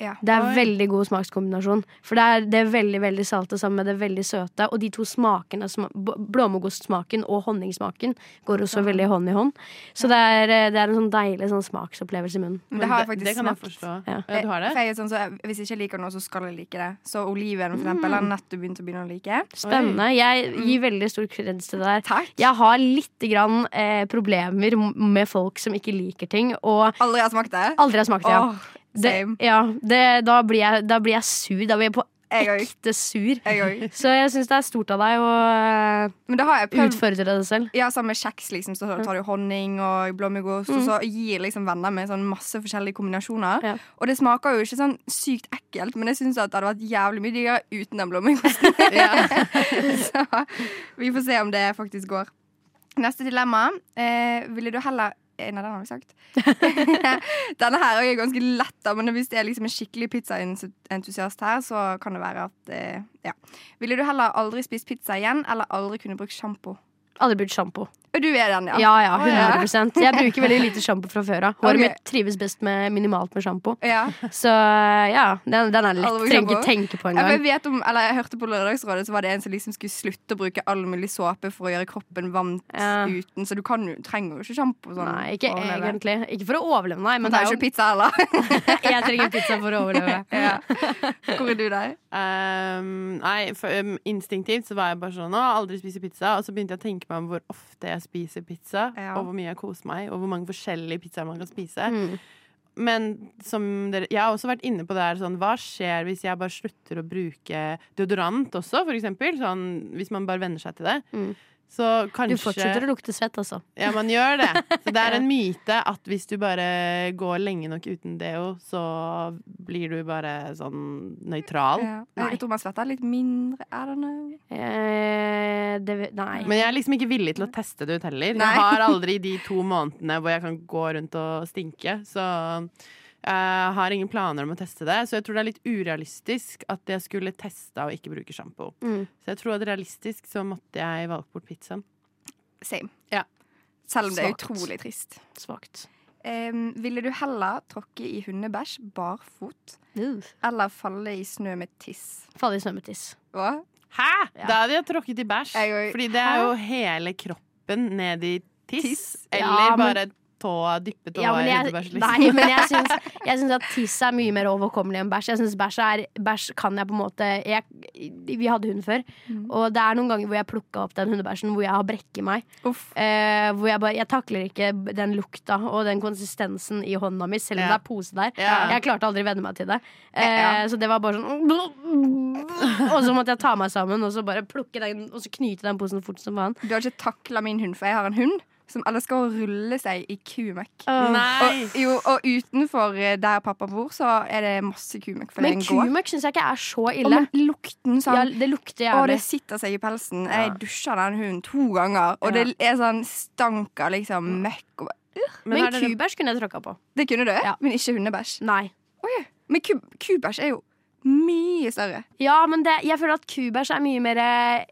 S6: ja.
S3: Det er veldig god smakskombinasjon. For det er det veldig veldig salte sammen med det veldig søte. Og de to smakene, sma- b- blåmugostsmaken og honningsmaken, går også veldig hånd i hånd. Så det er, eh, det er en sånn deilig sånn smaksopplevelse i munnen.
S6: Men det har jeg
S4: det,
S6: faktisk
S4: det kan jeg
S6: smakt.
S4: forstå.
S3: Ja.
S4: Ja. du har det?
S6: For jeg er sånn, så jeg- hvis jeg ikke liker noe, så skal jeg like det. Så oliven for eksempel,
S4: Mm.
S6: har jeg nettopp begynt å begynne å like.
S3: Spennende. Jeg gir veldig stor kreds til det der.
S6: Mm. Takk.
S3: Jeg har litt grann, eh, problemer m- med folk som ikke liker ting, og
S6: Aldri har smakt det.
S3: aldri har smakt det. Ja.
S6: Åh,
S3: Det,
S6: same.
S3: ja, det, da, blir jeg, da blir jeg sur. Da blir jeg på
S6: Jeg òg.
S3: ekte sur.
S6: Jeg òg.
S3: Så jeg syns det er stort av deg å eh,
S6: Men det har jeg prøvd.
S3: utfordre deg selv.
S6: Ja, sammen med kjeks, liksom, så tar du honning og blåmuggost, og så gir liksom venner med sånn masse forskjellige kombinasjoner.
S3: Ja.
S6: Og det smaker jo ikke sånn sykt ekkelt, men jeg syns at det hadde vært jævlig mye diggere uten den blåmuggosten. så vi får se om det faktisk går. Neste dilemma. Eh, ville du heller eh, Nei, den har vi sagt. Denne her er jo ganske lett, da, men hvis det er liksom en skikkelig pizzaentusiast her, så kan det være at eh, Ja. Ville du heller aldri spist pizza igjen, eller aldri kunne brukt sjampo?
S3: Aldri brukt sjampo.
S6: Og Du er den, ja.
S3: Ja, ja,
S6: Å, ja.
S3: 100 Jeg bruker veldig lite sjampo fra før av. Håret
S6: Ok.
S3: mitt trives best med minimalt med sjampo.
S6: Ja.
S3: Så eh, ja, den, den er lett.
S6: Alle bruker
S3: Trenger ikke
S6: sjampo?
S3: tenke på
S6: Jeg, bare
S3: engang.
S6: vet om, eller jeg hørte på Lørdagsrådet Så var det en som liksom skulle slutte å bruke all mulig såpe for å gjøre kroppen varmt
S3: Ja.
S6: uten, så du kan, jo- trenger jo ikke sjampo. Sånn,
S3: Nei, ikke
S6: for å overleve.
S3: egentlig. Ikke for å overleve, nei.
S6: Man
S3: Men det
S6: tar jo
S3: er
S6: ikke pizza heller.
S3: jo, jeg trenger pizza for å overleve.
S6: ja. Hvor er du der?
S4: Um, nei, for, um, instinktivt så var jeg bare sånn Å, aldri spise pizza. Og så begynte jeg å tenke meg om hvor ofte jeg spiser pizza,
S6: Ja.
S4: og hvor mye jeg koser meg, og hvor mange forskjellige pizzaer man kan spise.
S3: Mm.
S4: Men som dere, jeg har også vært inne på det her sånn, Hva skjer hvis jeg bare slutter å bruke deodorant også, for eksempel? Sånn, hvis man bare venner seg til det.
S3: Mm.
S4: Så
S3: Du
S4: kanskje
S3: fortsetter å lukte svett, altså.
S4: Ja, man gjør det. Så det er en myte at hvis du bare går lenge nok uten deo, så blir du bare sånn nøytral.
S6: Ja. Jeg tror man svetter litt mindre. I don't know.
S3: Eh, det, nei.
S4: Men jeg er liksom ikke villig til å teste det ut heller.
S6: Nei.
S4: Jeg har aldri de to månedene hvor jeg kan gå rundt og stinke, så jeg har ingen planer om å teste det. Så jeg tror det er litt urealistisk at jeg skulle teste og ikke bruke sjampo.
S3: Mm.
S4: Så jeg tror at realistisk så måtte jeg valgt bort pizzaen.
S6: Same.
S4: Ja.
S6: Selv om det er
S3: Svakt.
S6: utrolig trist.
S3: Svakt.
S6: Em, ville du heller tråkke i hundebæsj barfot
S3: Uh.
S6: eller falle i snø med tiss?
S3: Faller i snø med tiss.
S6: Hva?
S4: Hæ?!
S3: Ja.
S4: Da hadde jeg tråkket i bæsj.
S6: Jeg går-
S4: Fordi det er jo hele kroppen ned i tiss.
S6: Tiss.
S4: Eller
S3: Ja, men-
S4: bare tåa, dyppe tåa
S3: Ja, men
S4: i
S3: jeg,
S4: hundebæsj. Liksom.
S3: nei, men jeg syns, jeg syns at tiss er mye mer overkommelig enn bæsj. Jeg syns bæsj, er, bæsj kan jeg på en måte jeg, Vi hadde hund før, og det er noen ganger hvor jeg plukka opp den hundebæsjen hvor jeg har brekket meg.
S6: Uff.
S3: Eh, hvor jeg bare Jeg takler ikke den lukta og den konsistensen i hånda mi, selv om
S4: Ja.
S3: det er pose der.
S4: Ja.
S3: Jeg klarte aldri å venne meg til det. Eh,
S6: Ja.
S3: Så det var bare sånn Og så måtte jeg ta meg sammen og så bare plukke den Og så knyte den posen fort som faen.
S6: Du har ikke takla min hund, for jeg har en hund. som elsker å rulle seg i kumøkk.
S3: Åh.
S6: Og, jo, og utenfor eh, der pappa bor, så er det masse kumøkk. fordi
S3: Men
S6: den går.
S3: kumøkk syns jeg ikke er så
S6: Og
S3: ille.
S6: men lukten sånn
S3: Ja, det lukter jævlig.
S6: Og det sitter seg i pelsen. Jeg dusja den hunden to ganger, og det er sånn stank av liksom
S3: Mm.
S6: møkk. Og,
S4: Men
S3: Men
S4: er dere-
S3: kubæsj kunne jeg tråkka på.
S6: det kunne du,
S3: Ja.
S6: men ikke hundebæsj.
S3: Nei.
S6: Men ku- kubæsj er jo mye større.
S3: Ja, men det, jeg føler at kubæsj er mye mer eh,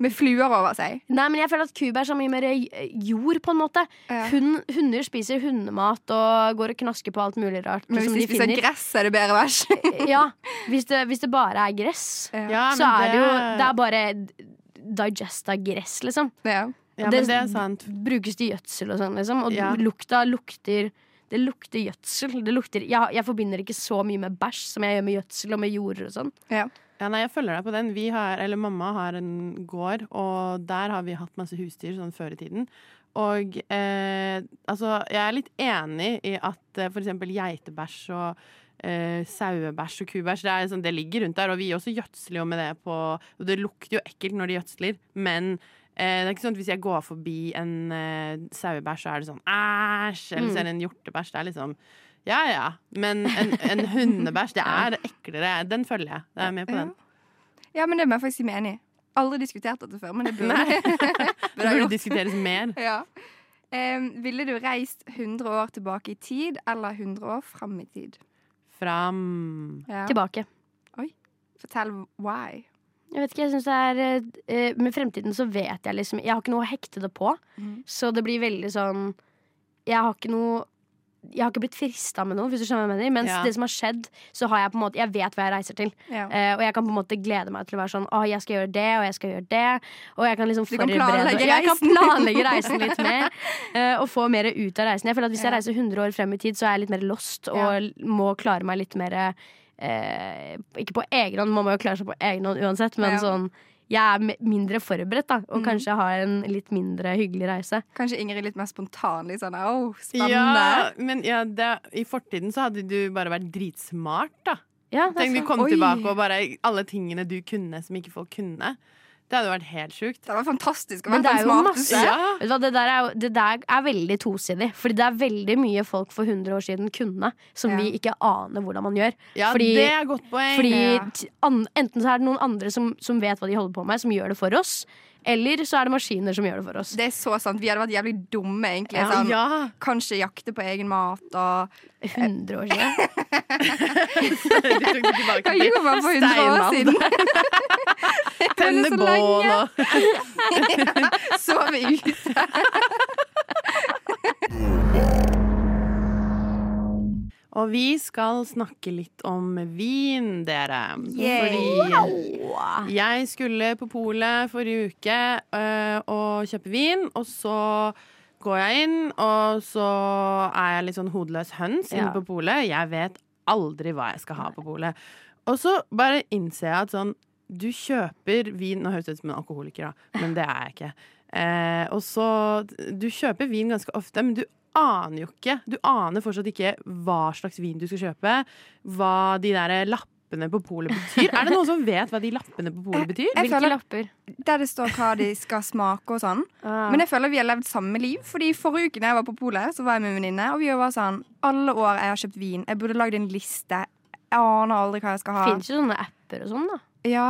S6: Med fluer over seg.
S3: Nei, men jeg føler at kubæsj er mye mer eh, jord, på en måte.
S6: Ja.
S3: Hun, hunder spiser hundemat og går og knasker på alt mulig rart.
S6: Men
S3: som
S6: hvis de
S3: de
S6: spiser
S3: finner.
S6: gress, er det bedre bæsj.
S3: ja, hvis det, hvis det bare er gress,
S4: Ja,
S3: så
S4: men
S3: er det jo Det er bare digesta gress, liksom.
S6: Ja.
S4: ja, men det er sant.
S3: Brukes til gjødsel og sånn, liksom. Og
S4: Ja.
S3: lukta lukter det lukter gjødsel. Det lukter, jeg, jeg forbinder ikke så mye med bæsj som jeg gjør med gjødsel og med jorder og sånn.
S4: Ja, nei, jeg følger deg på den. Vi har, eller mamma har en gård, og der har vi hatt masse husdyr sånn før i tiden. Og eh, altså, jeg er litt enig i at eh, for eksempel geitebæsj og eh, sauebæsj og kubæsj, det, er, sånn, det ligger rundt der. Og vi også gjødsler jo med det på Og det lukter jo ekkelt når de gjødsler, men eh, det er ikke sånn at hvis jeg går forbi en eh, sauebæsj, så er det sånn æsj, eller så er det en hjortebæsj. Det er liksom ja ja, men en, en hundebæsj, det er eklere. Den følger jeg. Jeg er med på den.
S6: ja, men det må jeg faktisk si meg enig i. Aldri diskutert dette før, men det burde, burde
S4: Det
S6: jeg
S4: burde
S6: gjort.
S4: diskuteres mer.
S6: Ja. Em, ville du reist 100 år tilbake i tid eller 100 år fram i tid?
S4: Fram
S6: Ja.
S3: Tilbake.
S6: Fortell why.
S3: Jeg vet ikke, jeg synes det er eh, eh, Med fremtiden så vet jeg liksom Jeg har ikke noe å hekte det på.
S6: Mhm.
S3: Så det blir veldig sånn Jeg har ikke noe jeg har ikke blitt frista med noe, hvis du skjønner hva jeg mener. Mens
S4: Ja.
S3: det som har skjedd, så har jeg på en måte Jeg vet hva jeg reiser til.
S6: Ja.
S3: Eh, og jeg kan på en måte glede meg til å være sånn Å, jeg skal gjøre det, og jeg skal gjøre det. Og jeg kan liksom
S6: Du kan
S3: forberede-
S6: planlegge
S3: Jeg kan
S6: reisen.
S3: planlegge reisen litt mer. eh, og få mer ut av reisen. Jeg føler at Hvis jeg
S6: Ja.
S3: reiser 100 år frem i tid, så er jeg litt mer lost og
S6: Ja.
S3: l- må klare meg litt mer eh, Ikke på egen hånd, man må jo klare seg på egen hånd uansett, men
S6: Ja. Mm.
S3: sånn jeg er me- mindre forberedt, da, og kanskje har en litt mindre hyggelig reise.
S6: Kanskje Ingrid litt mer spontan. Litt sånn åh, spennende.
S4: Ja, men ja, det, i fortiden så hadde du bare vært dritsmart, da.
S3: Ja, det er
S4: Tenk, du
S3: sant.
S4: kom
S6: Oi.
S4: tilbake og bare alle tingene du kunne som ikke folk kunne. Det hadde vært helt sjukt.
S6: Det var fantastisk å
S3: Men
S6: være
S3: det er
S6: den
S3: jo
S6: smarteste.
S3: masse
S4: Ja.
S3: Vet du hva, det, der er, jo- det der er veldig tosidig. Fordi det er veldig mye folk for 100 år siden kunne, som
S6: Ja.
S3: vi ikke aner hvordan man gjør.
S4: Ja,
S3: Fordi-
S4: det er godt poeng.
S3: Fordi
S6: Ja.
S3: t- an, enten så er det noen andre som, som vet hva de holder på med, som gjør det for oss. Eller så er det maskiner som gjør det for oss.
S6: Det er så sant. Vi hadde vært jævlig dumme, egentlig.
S4: ja.
S6: Sånn,
S4: ja.
S6: Kanskje jakte på egen mat og
S3: 100 år siden.
S4: Du tok det tilbake
S6: Hva gjorde man for 100 år
S4: Steinmann.
S6: siden?
S4: Tenne
S6: så
S4: bål
S6: lenge.
S4: og
S6: Sove ute.
S4: Og vi skal snakke litt om vin, dere.
S6: Yay.
S4: Fordi jeg skulle på polet forrige uke øh, og kjøpe vin, og så går jeg inn, og så er jeg litt sånn hodeløs høns inne
S3: Ja.
S4: på polet. Jeg vet aldri hva jeg skal ha på polet. Og så bare innser jeg at sånn Du kjøper vin Nå høres det ut som en alkoholiker, da, men det er jeg ikke. Eh, og så Du kjøper vin ganske ofte, men du aner jo ikke. Du aner fortsatt ikke hva slags vin du skal kjøpe. Hva de der lappene på polet betyr. Er det noen som vet hva de lappene på polet betyr?
S6: Jeg
S3: Hvilke
S6: føler,
S3: lapper?
S6: der det står hva de skal smake og sånn. Men jeg føler vi har levd samme liv. Fordi forrige uke da jeg var på polet, så var jeg med en venninne, og vi var sånn Alle år jeg har kjøpt vin. Jeg burde lagd en liste. Jeg aner aldri hva jeg skal ha.
S3: Fins jo sånne apper og sånn, da.
S6: Ja.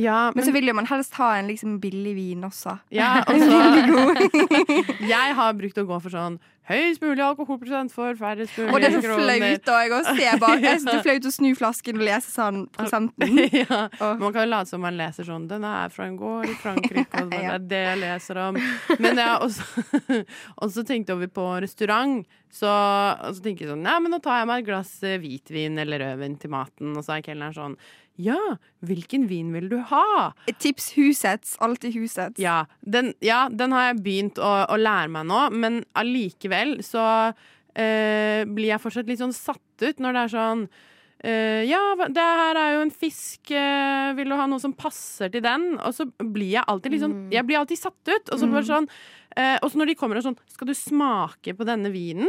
S4: Ja,
S6: Men så vil jo man helst ha en liksom billig vin også.
S4: Ja, og så Jeg har brukt å gå for sånn høyest mulig alkoholprosent for færrest mulig
S6: Og det er så
S4: kroner.
S6: flaut òg å se bak. Jeg synes det er flaut å snu flasken og lese sånn prosenten.
S4: ja,
S6: Åh.
S4: man kan jo late som man leser sånn Den er fra en gård i Frankrike, og det
S6: Ja.
S4: er det jeg leser om. Men jeg har også, også tenkte over på restaurant. Så, og så tenker jeg sånn Nei, men nå tar jeg meg et glass eh, hvitvin eller rødvin til maten. Og så er kelneren sånn Ja, hvilken vin vil du ha?
S6: Tips Husets. Alltid Husets.
S4: Ja, den, ja, den har jeg begynt å, å lære meg nå, men allikevel så eh, blir jeg fortsatt litt sånn satt ut når det er sånn eh, ja, hva- det her er jo en fisk. eh, vil du ha noe som passer til den? Og så blir jeg alltid litt sånn Jeg blir alltid satt ut. Og så bare sånn eh, Og så når de kommer og sånn Skal du smake på denne vinen?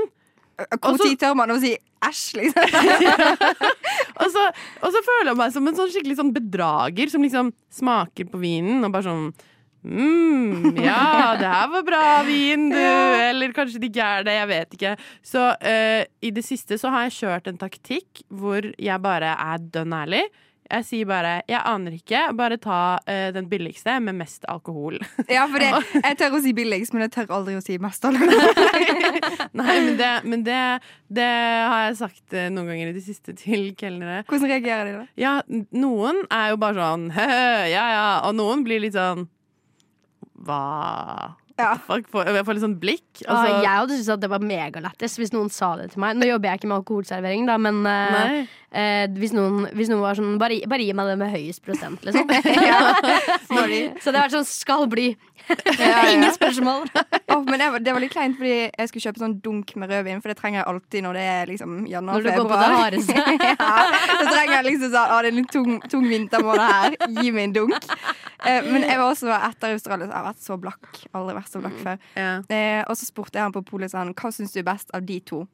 S6: Hvor
S4: Også-
S6: tid tør man å si æsj, liksom?
S4: Og så, og så føler jeg meg som en sånn skikkelig sånn bedrager som liksom smaker på vinen og bare sånn Mm, ja, det her var bra vin, du. Eller kanskje det ikke er det, jeg vet ikke. Så eh, i det siste så har jeg kjørt en taktikk hvor jeg bare er dønn ærlig. Jeg sier bare 'jeg aner ikke', bare ta eh, den billigste med mest alkohol.
S6: Ja, for det, jeg tør å si billigst, men jeg tør aldri å si mest. alkohol.
S4: Nei, men, det, men det, det har jeg sagt eh, noen ganger i det siste til kelnere.
S6: Hvordan reagerer de da?
S4: Ja, n- noen er jo bare sånn «Høhø, ja ja, og noen blir litt sånn Hva?
S6: Ja.
S4: Fuck, får- Jeg får litt sånn blikk.
S3: Og
S4: og så-
S3: Ah, jeg hadde syntes at det var megalættis hvis noen sa det til meg. Nå jobber jeg ikke med alkoholservering, da, men eh,
S4: Nei.
S3: eh, hvis, noen, hvis noen var sånn Bare, gi- bare gi meg det med høyest prosent, liksom. Så det har vært sånn skal bli. Ingen spørsmål.
S6: Åh, men det var, det var litt kleint, fordi jeg skulle kjøpe sånn dunk med rødvin. For det trenger jeg alltid når det er liksom
S3: Når du går på
S6: januar-februar.
S3: det hardeste.
S6: ja, da trenger jeg liksom sånn Å, det er en tung, tung vintermåned her. Gi meg en dunk. Eh, men jeg var også etter Australia så jeg har vært så blakk. Aldri vært så blakk
S3: Mm.
S6: før.
S4: Ja.
S6: Eh, og så spurte jeg han på polet sånn, hva syns du er best av de to.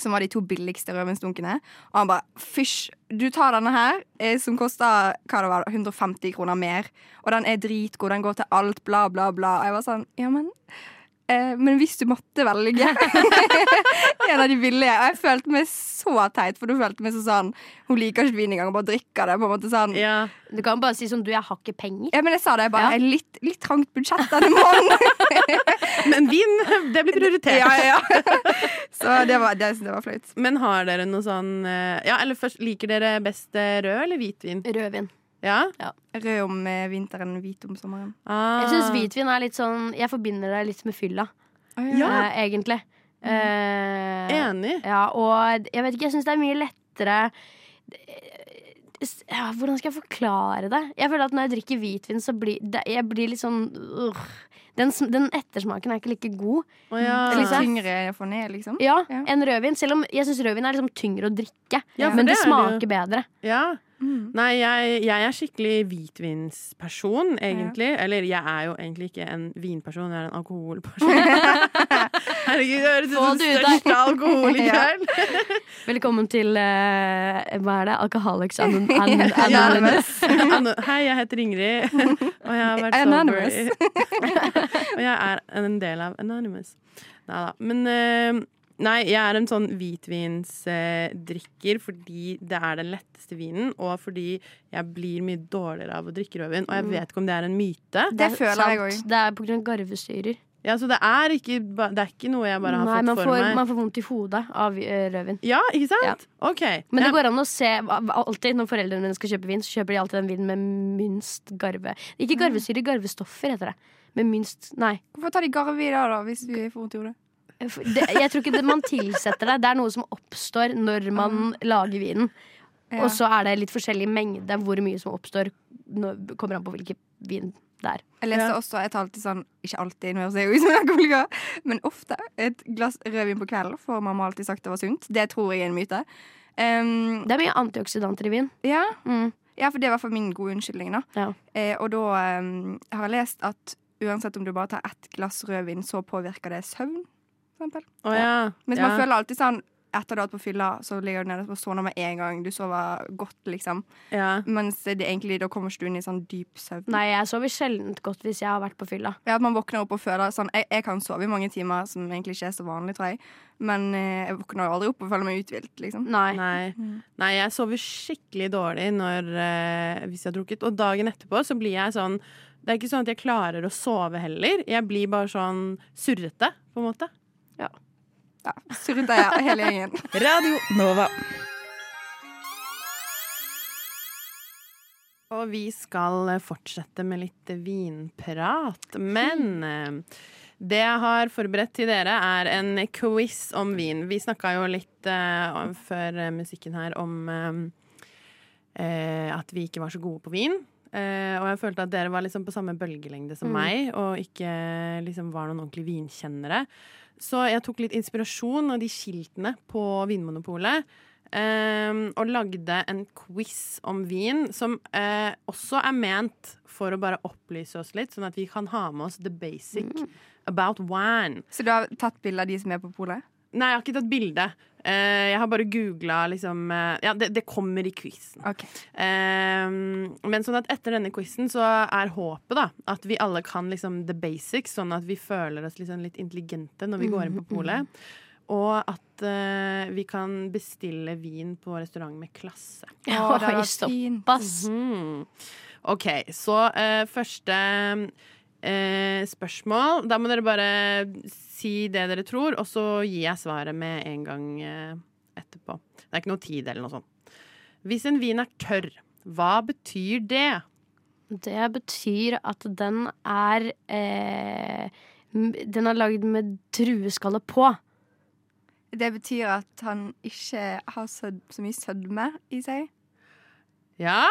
S6: Som var de to billigste rødvinsdunkene. Og han bare fysj, du tar denne her, eh, som koster hva det var, 150 kroner mer. Og den er dritgod, den går til alt, bla, bla, bla. Og jeg var sånn, ja, men eh, Men hvis du måtte velge en av de billige Og jeg følte meg så teit, for du følte meg så sånn Hun liker ikke vin engang, og bare drikker det. på en måte sånn
S4: Ja.
S3: Du kan bare si sånn du, jeg har ikke penger.
S6: Ja, men jeg sa det, jeg
S3: Ja.
S6: bare. «Jeg har Litt, litt trangt budsjett denne måneden.
S4: Men vin, det blir prioritert.
S6: Ja, ja. Så det var, det, det var flaut.
S4: Men har dere noe sånn eh, Ja, eller først, liker dere best eh, rød eller hvitvin?
S3: Rødvin.
S4: Ja?
S6: Rød om eh, vinteren, hvit om sommeren.
S4: Ah.
S3: Jeg syns hvitvin er litt sånn Jeg forbinder det litt med fylla,
S4: Ja,
S3: eh, egentlig. Eh,
S4: enig.
S3: Ja, og jeg vet ikke, jeg syns det er mye lettere eh, ja, Hvordan skal jeg forklare det? Jeg føler at når jeg drikker hvitvin, så blir det, jeg blir litt sånn øh, den, sm- den ettersmaken er ikke like god
S4: Å ja.
S6: Det er litt
S3: Ja.
S6: tyngre å få ned, liksom.
S3: Ja,
S6: Ja.
S3: enn rødvin. Selv om jeg syns rødvin er liksom tyngre å drikke.
S4: Ja, for
S3: men
S4: det
S3: det,
S4: er det
S3: smaker
S4: jo.
S3: bedre.
S4: ja.
S6: Mm.
S4: Nei, jeg, jeg er skikkelig hvitvinsperson, egentlig. Eller jeg er jo egentlig ikke en vinperson, jeg er en alkoholperson. Herregud, jeg høres ut
S3: Få
S4: som
S3: det ut
S4: den
S3: der.
S4: største alkoholikeren.
S3: Velkommen til eh, Hva er det? Alcoholics Anon- An-
S4: Ja.
S3: Anonymous.
S4: Ano- Hei, jeg heter Ingrid, og jeg har vært sober
S6: Anonymous.
S4: i- Og jeg er en del av Anonymous. Neida. Men eh, nei, jeg er en sånn hvitvinsdrikker fordi det er den letteste vinen, og fordi jeg blir mye dårligere av å drikke rødvin. Og jeg vet ikke om det er en myte.
S6: Det
S3: er
S6: føler jeg
S3: sant. Det er på grunn av garvesyrer.
S4: Ja, så det er ikke, ba- det er ikke noe jeg bare har
S3: Nei, man
S4: fått for
S3: får,
S4: meg.
S3: man får vondt i hodet av eh, rødvin.
S4: Ja, ikke sant? OK.
S3: Men det
S4: Ja.
S3: går an å se alltid Når foreldrene mine skal kjøpe vin, så kjøper de alltid den vinen med minst garve. Ikke garvesyre, garvestoffer heter det. Med minst Nei.
S6: Hvorfor tar de garv i dag, da, hvis du får vondt i hodet?
S3: For Det, jeg tror ikke det, man tilsetter det. Det er noe som oppstår når man lager vinen.
S6: Mm. Ja.
S3: Og så er det litt forskjellig mengde hvor mye som oppstår. Når, kommer an på hvilken vin det er.
S6: Jeg leste også, jeg tar alltid sånn Ikke alltid, nå høres jeg ut som en alkoholiker, men ofte. Et glass rødvin på kvelden får mamma alltid sagt det var sunt. Det tror jeg er en myte. Um,
S3: Det er mye antioksidanter i vin.
S6: ja.
S3: Mm.
S6: ja, for det er i hvert fall min gode unnskyldning, da.
S3: Ja.
S6: Eh, og da um, har jeg lest at uansett om du bare tar ett glass rødvin, så påvirker det søvn, for eksempel.
S4: Å ja.
S6: Mens
S4: Ja.
S6: man føler alltid sånn etter du har vært på fylla, så ligger du nede og sovner med en gang. Du sover godt, liksom.
S4: ja.
S6: Mens det egentlig, da kommer ikke du inn i sånn dyp søvn.
S3: Nei, jeg sover sjelden godt hvis jeg har vært på fylla.
S6: Ja, at man våkner opp og føler sånn jeg, jeg kan sove i mange timer, som egentlig ikke er så vanlig, tror jeg. Men eh, jeg våkner jo aldri opp og føler meg uthvilt, liksom.
S3: Nei.
S4: Nei. Nei, jeg sover skikkelig dårlig når, eh, hvis jeg har drukket. Og dagen etterpå så blir jeg sånn Det er ikke sånn at jeg klarer å sove heller. Jeg blir bare sånn surrete, på en måte.
S6: Ja, Surret jeg hele gjengen.
S7: Radio Nova.
S4: Og vi skal eh, fortsette med litt vinprat. Men eh, det jeg har forberedt til dere, er en quiz om vin. Vi snakka jo litt eh, om- før eh, musikken her om eh, eh, at vi ikke var så gode på vin. Eh, og jeg følte at dere var liksom på samme bølgelengde som meg, og ikke liksom var noen ordentlige vinkjennere. Så jeg tok litt inspirasjon av de skiltene på Vinmonopolet. eh, og lagde en quiz om vin, som eh, også er ment for å bare opplyse oss litt, sånn at vi kan ha med oss the basic about wine.
S6: Så du har tatt bilde av de som er på polet?
S4: Nei, jeg har ikke tatt bilde. Eh, jeg har bare googla liksom eh, Ja, det, det kommer i quizen.
S6: Ok.
S4: Eh, men sånn at etter denne quizen så er håpet da at vi alle kan liksom the basics, sånn at vi føler oss liksom litt intelligente når vi går inn på polet. Og at eh, vi kan bestille vin på restaurant med klasse.
S6: Å, det hadde
S3: Oi,
S6: vært
S3: stopp,
S6: fint.
S3: ass.
S4: Mm. OK, så eh, første eh, spørsmål. Da må dere bare si det dere tror, og så gir jeg svaret med en gang eh, etterpå. Det er ikke noe tid eller noe sånt. Hvis en vin er tørr, hva betyr det?
S3: Det betyr at den er eh, m- Den er lagd med drueskallet på.
S6: Det betyr at han ikke har sød, så mye sødme i seg.
S4: Ja,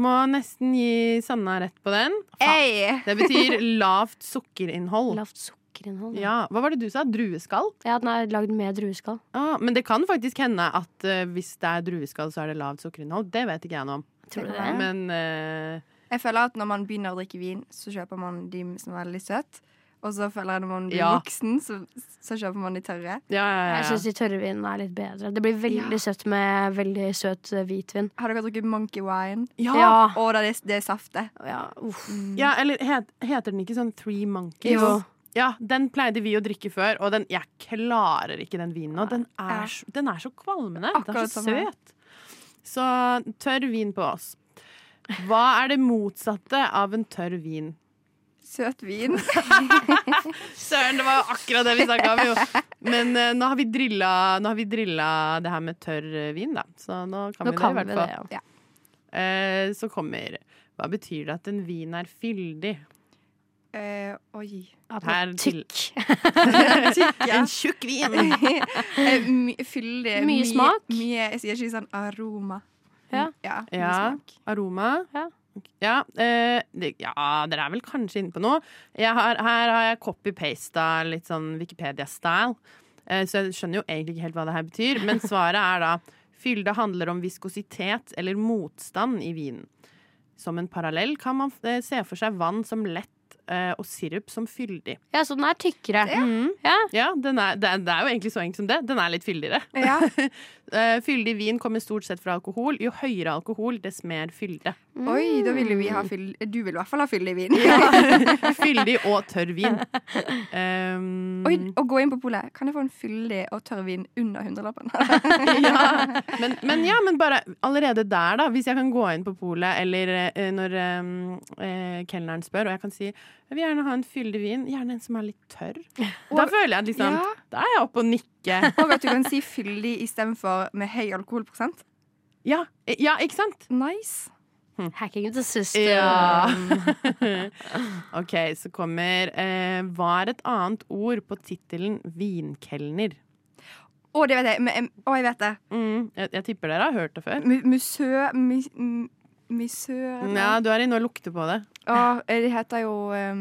S4: må nesten gi Sanna rett på den.
S6: Ei!
S4: Det betyr lavt
S6: Oh.
S4: sukkerinnhold.
S3: Lavt sukkerinnhold.
S4: Ja, Hva var det du sa? Drueskall?
S3: Ja, den er lagd med drueskall.
S4: Ah, men det kan faktisk hende at eh, hvis det er drueskall, så er det lavt sukkerinnhold. Det vet ikke jeg noe om.
S3: Tror du
S6: Det
S3: det?
S6: kan
S4: Men eh,
S6: Jeg føler at når man begynner å drikke vin, så kjøper man de som er veldig søte. Og så føler jeg når man blir
S4: Ja.
S6: voksen, så, så kjøper man de tørre.
S4: ja, ja,
S3: Jeg
S4: ja,
S3: syns de tørre vinene er litt bedre. Det blir veldig
S6: Ja.
S3: søtt med veldig søt eh, hvitvin.
S6: Har dere drukket monkey wine?
S4: ja. Ja.
S3: Ja.
S6: Å, det, er- det er saftet.
S3: ja uff.
S4: ja, eller het, heter den ikke sånn Three Monkeys?
S3: Jo.
S4: Ja, Den pleide vi å drikke før, og den, jeg klarer ikke den vinen nå. Den
S6: Ja.
S4: er, så- den er så kvalmende. Den er
S6: Akkurat
S4: så
S6: som meg.
S4: søt. Så tørr vin på oss. Hva er det motsatte av en tørr vin?
S6: Søt vin.
S4: Søren, det var jo akkurat det vi snakka om, jo! Men eh, nå, har vi drilla, nå har vi drilla det her med tørr eh, vin, da. Så nå kan
S3: Nå
S4: vi
S3: kan
S4: det, i
S3: vi
S4: hvert
S3: det,
S4: fall.
S3: ja.
S4: Eh, så kommer Hva betyr det at en vin er fyldig?
S6: Eh, oi.
S3: At
S4: Her
S3: den er
S4: til-
S3: tykk.
S6: Tykk, ja.
S4: En tjukk vin!
S6: Eh, my- Fyldig.
S3: Mye smak.
S6: Mye, jeg sier ikke sånn aroma.
S3: Ja.
S6: ja, mye
S4: Ja.
S6: smak.
S4: Aroma.
S3: Ja.
S4: Ja, eh, det- ja, dere er vel kanskje inne på noe. Jeg har, her har jeg copy-pasta litt sånn Wikipedia-style. Eh, så jeg skjønner jo egentlig ikke helt hva det her betyr. Men svaret er da fylde handler om viskositet eller motstand i vinen. Som en parallell kan man eh, se for seg vann som lett eh, og sirup som fyldig.
S3: Ja, så den er tykkere.
S4: Mhm.
S3: Ja.
S4: Ja, den er, det, er- det er jo egentlig så enkelt som det. Den er litt fyldigere.
S6: Ja.
S4: Eh, fyldig vin kommer stort sett fra alkohol. Jo høyere alkohol, dess mer fylde.
S3: Mm.
S6: Oi, da ville vi ha fyll... Du vil i hvert fall ha fyldig vin.
S4: Fyldig og tørr vin. Um,
S6: Oi, å gå inn på polet. Kan jeg få en fyldig og tørr vin under hundrelappen?
S4: ja. Men, men ja, men bare allerede der, da. Hvis jeg kan gå inn på polet, eller eh, når um, eh, kelneren spør, og jeg kan si jeg vil gjerne ha en fyldig vin, gjerne en som er litt tørr. da føler jeg at liksom
S6: Ja.
S4: Da er jeg oppe og nikker.
S6: Og at du kan si fyldig istedenfor med høy alkoholprosent.
S4: Ja, eh, ja ikke sant?
S6: Nice.
S3: Hacking the system.
S4: Ja. OK, så kommer eh, Hva er et annet ord på tittelen vinkelner?
S6: Å, det vet jeg. Men, em, å, jeg vet det.
S4: Mm, jeg, jeg tipper dere har hørt det før.
S6: Mu- Musø... mis- m- Misør eller
S4: Ja, du er inne og lukter på det.
S6: Å, eh, De heter jo em,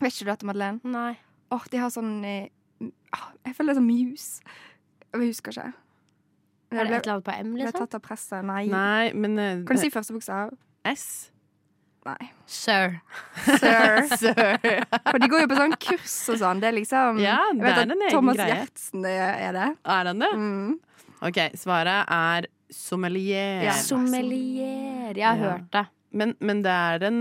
S6: Vet ikke du dette, Madeleine?
S3: Nei.
S6: Åh, de har sånn eh, m- ah, Jeg føler det er sånn mus. Jeg husker ikke. Men
S3: Er
S6: Jeg
S3: det
S6: ble,
S3: et eller annet på M,
S6: ble
S3: liksom?
S6: tatt av presset. Nei.
S4: Nei, men eh,
S6: Kan du si første bokstav?
S4: S?
S6: Nei.
S3: Sir.
S6: Sir.
S4: Sir.
S6: For de går jo på sånn kurs og sånn. Det er liksom
S4: Ja,
S6: Jeg
S4: det
S6: vet
S4: er
S6: at
S4: en egen
S6: Thomas
S4: greie.
S6: Gjertsen eh, er det.
S4: Er han det?
S6: Mm.
S4: OK, svaret er sommelier.
S6: Ja.
S3: Sommelier. Jeg har
S4: Ja.
S3: hørt det.
S4: Men, men det er en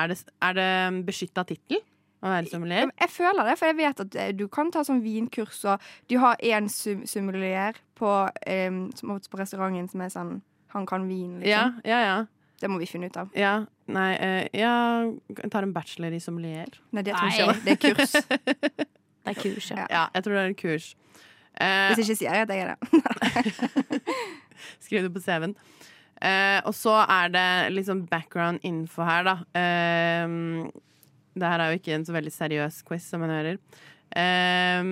S4: Er det, er det en beskytta tittel å være sommelier?
S6: Jeg føler det, for jeg vet at eh, du kan ta sånn vinkurs, og du har én sum- sommelier på, eh, som ofte på restauranten som er sånn Han kan vin,
S4: Ja,
S6: liksom.
S4: ja, ja.
S6: Det må vi finne ut av.
S4: ja. Nei, eh, jeg tar en bachelor i sommelier.
S6: Nei, det tror jeg ikke. Det er kurs.
S3: Det er kurs, ja.
S6: Ja.
S4: Ja, jeg tror det er en kurs. Eh,
S6: Hvis ikke sier jeg at jeg er det.
S4: Skriv det på CV-en. Eh, og så er det litt sånn background info her, da. Eh, det her er jo ikke en så veldig seriøs quiz, som man hører. Eh,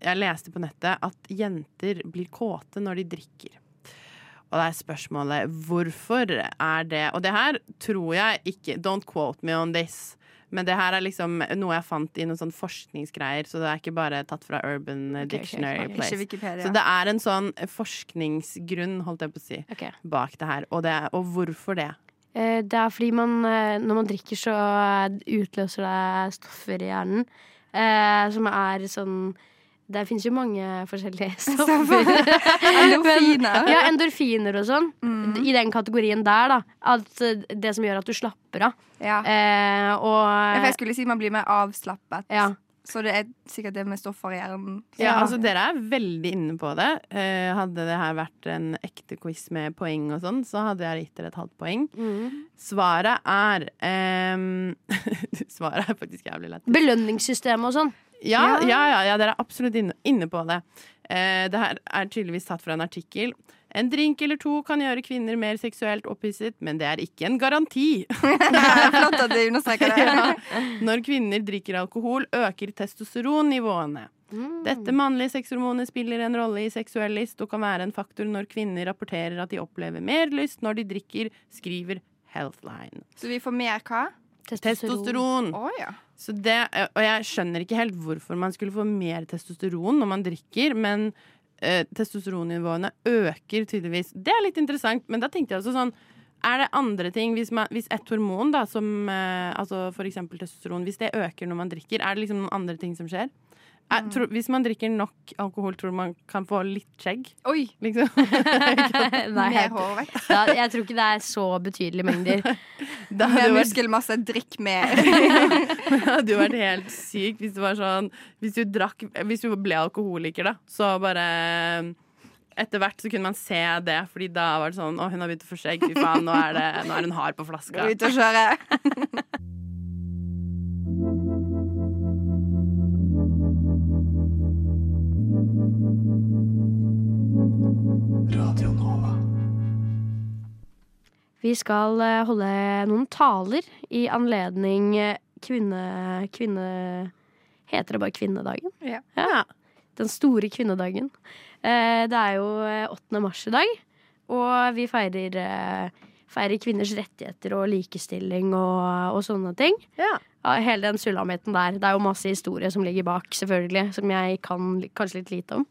S4: jeg leste på nettet at jenter blir kåte når de drikker. Og det er spørsmålet hvorfor er det Og det her tror jeg ikke Don't quote me on this. Men det her er liksom noe jeg fant i noen sånn forskningsgreier, så det er ikke bare tatt fra Urban
S3: ok,
S4: Dictionary
S3: ok.
S4: Place.
S6: Ikke Wikipedia.
S4: Så det er en sånn forskningsgrunn, holdt jeg på å si,
S3: Ok.
S4: bak det her. Og, det, og hvorfor det?
S3: Eh, Det er fordi man, eh, når man drikker, så utløser det stoffer i hjernen. eh, Som er eh, sånn Det finnes jo mange forskjellige
S6: Stoffer.
S3: stoffer.
S6: Endorfiner.
S3: Ja, endorfiner og sånn. I den kategorien der, da. At eh, det som gjør at du slapper av.
S6: Ja.
S3: Eh,
S6: Jeg, jeg
S3: og
S6: skulle si man blir mer avslappet.
S3: ja.
S6: Så det er sikkert det med stoffer i hjernen.
S4: Ja, altså Dere er veldig inne på det. Eh, hadde det her vært en ekte quiz med poeng, og sånn, så hadde jeg gitt dere et halvt poeng. Svaret er ehm, Svaret er faktisk jævlig lett.
S3: Belønningssystemet og sånn.
S4: Ja,
S6: Ja.
S4: ja, ja, ja dere er absolutt inne, inne på det. Eh, det her er tydeligvis tatt fra en artikkel. En drink eller to kan gjøre kvinner mer seksuelt opphisset, men det er ikke en garanti.
S6: Flott at du understreker det.
S4: Ja. Når kvinner drikker alkohol, øker testosteronnivåene. Dette mannlige sexhormonet spiller en rolle i seksuell lyst og kan være en faktor når kvinner rapporterer at de opplever mer lyst når de drikker, skriver Healthline.
S6: Så vi får mer hva?
S4: Testosteron.
S6: Å ja.
S4: Så det, eh, og jeg skjønner ikke helt hvorfor man skulle få mer testosteron når man drikker, men eh, testosteronnivåene øker tydeligvis. Det er litt interessant, men da tenkte jeg også sånn er det andre ting, hvis, man, hvis et hormon, da, som eh, altså for eksempel testosteron, hvis det øker når man drikker, er det liksom noen andre ting som skjer? Er, tro, hvis man drikker nok alkohol, tror du man kan få litt skjegg?
S6: Oi!
S4: Liksom.
S3: Nei,
S6: Mer
S3: jeg,
S6: hårvekt.
S3: ja, jeg tror ikke det er så betydelige mengder.
S4: Det
S6: Mer
S4: hadde jo vært
S6: muskelmasse. Drikk mer.
S4: Det hadde jo vært helt sykt hvis det var sånn Hvis du, drakk, hvis du ble alkoholiker, da, så bare Etter hvert så kunne man se det, Fordi da var det sånn Å, hun har begynt å få skjegg. Fy faen, nå er, det, nå er hun hard på flaska.
S6: Ut og kjøre.
S3: Vi skal eh, holde noen taler i anledning eh, kvinne... kvinne heter det bare kvinnedagen?
S6: Ja.
S3: Den store kvinnedagen. Eh, Det er jo eh, 8. mars i dag, og vi feirer, eh, feirer kvinners rettigheter og likestilling og, og sånne ting.
S4: Ja.
S3: Ja, hele den sulamitten der. Det er jo masse historie som ligger bak, selvfølgelig, som jeg kan li- kanskje litt lite om.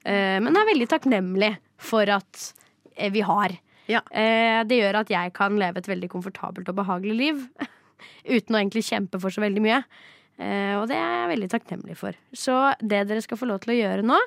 S3: Eh, Men jeg er veldig takknemlig for at eh, vi har.
S4: Ja.
S3: Eh, Det gjør at jeg kan leve et veldig komfortabelt og behagelig liv. Uten å egentlig kjempe for så veldig mye. Eh, Og det er jeg veldig takknemlig for. Så det dere skal få lov til å gjøre nå,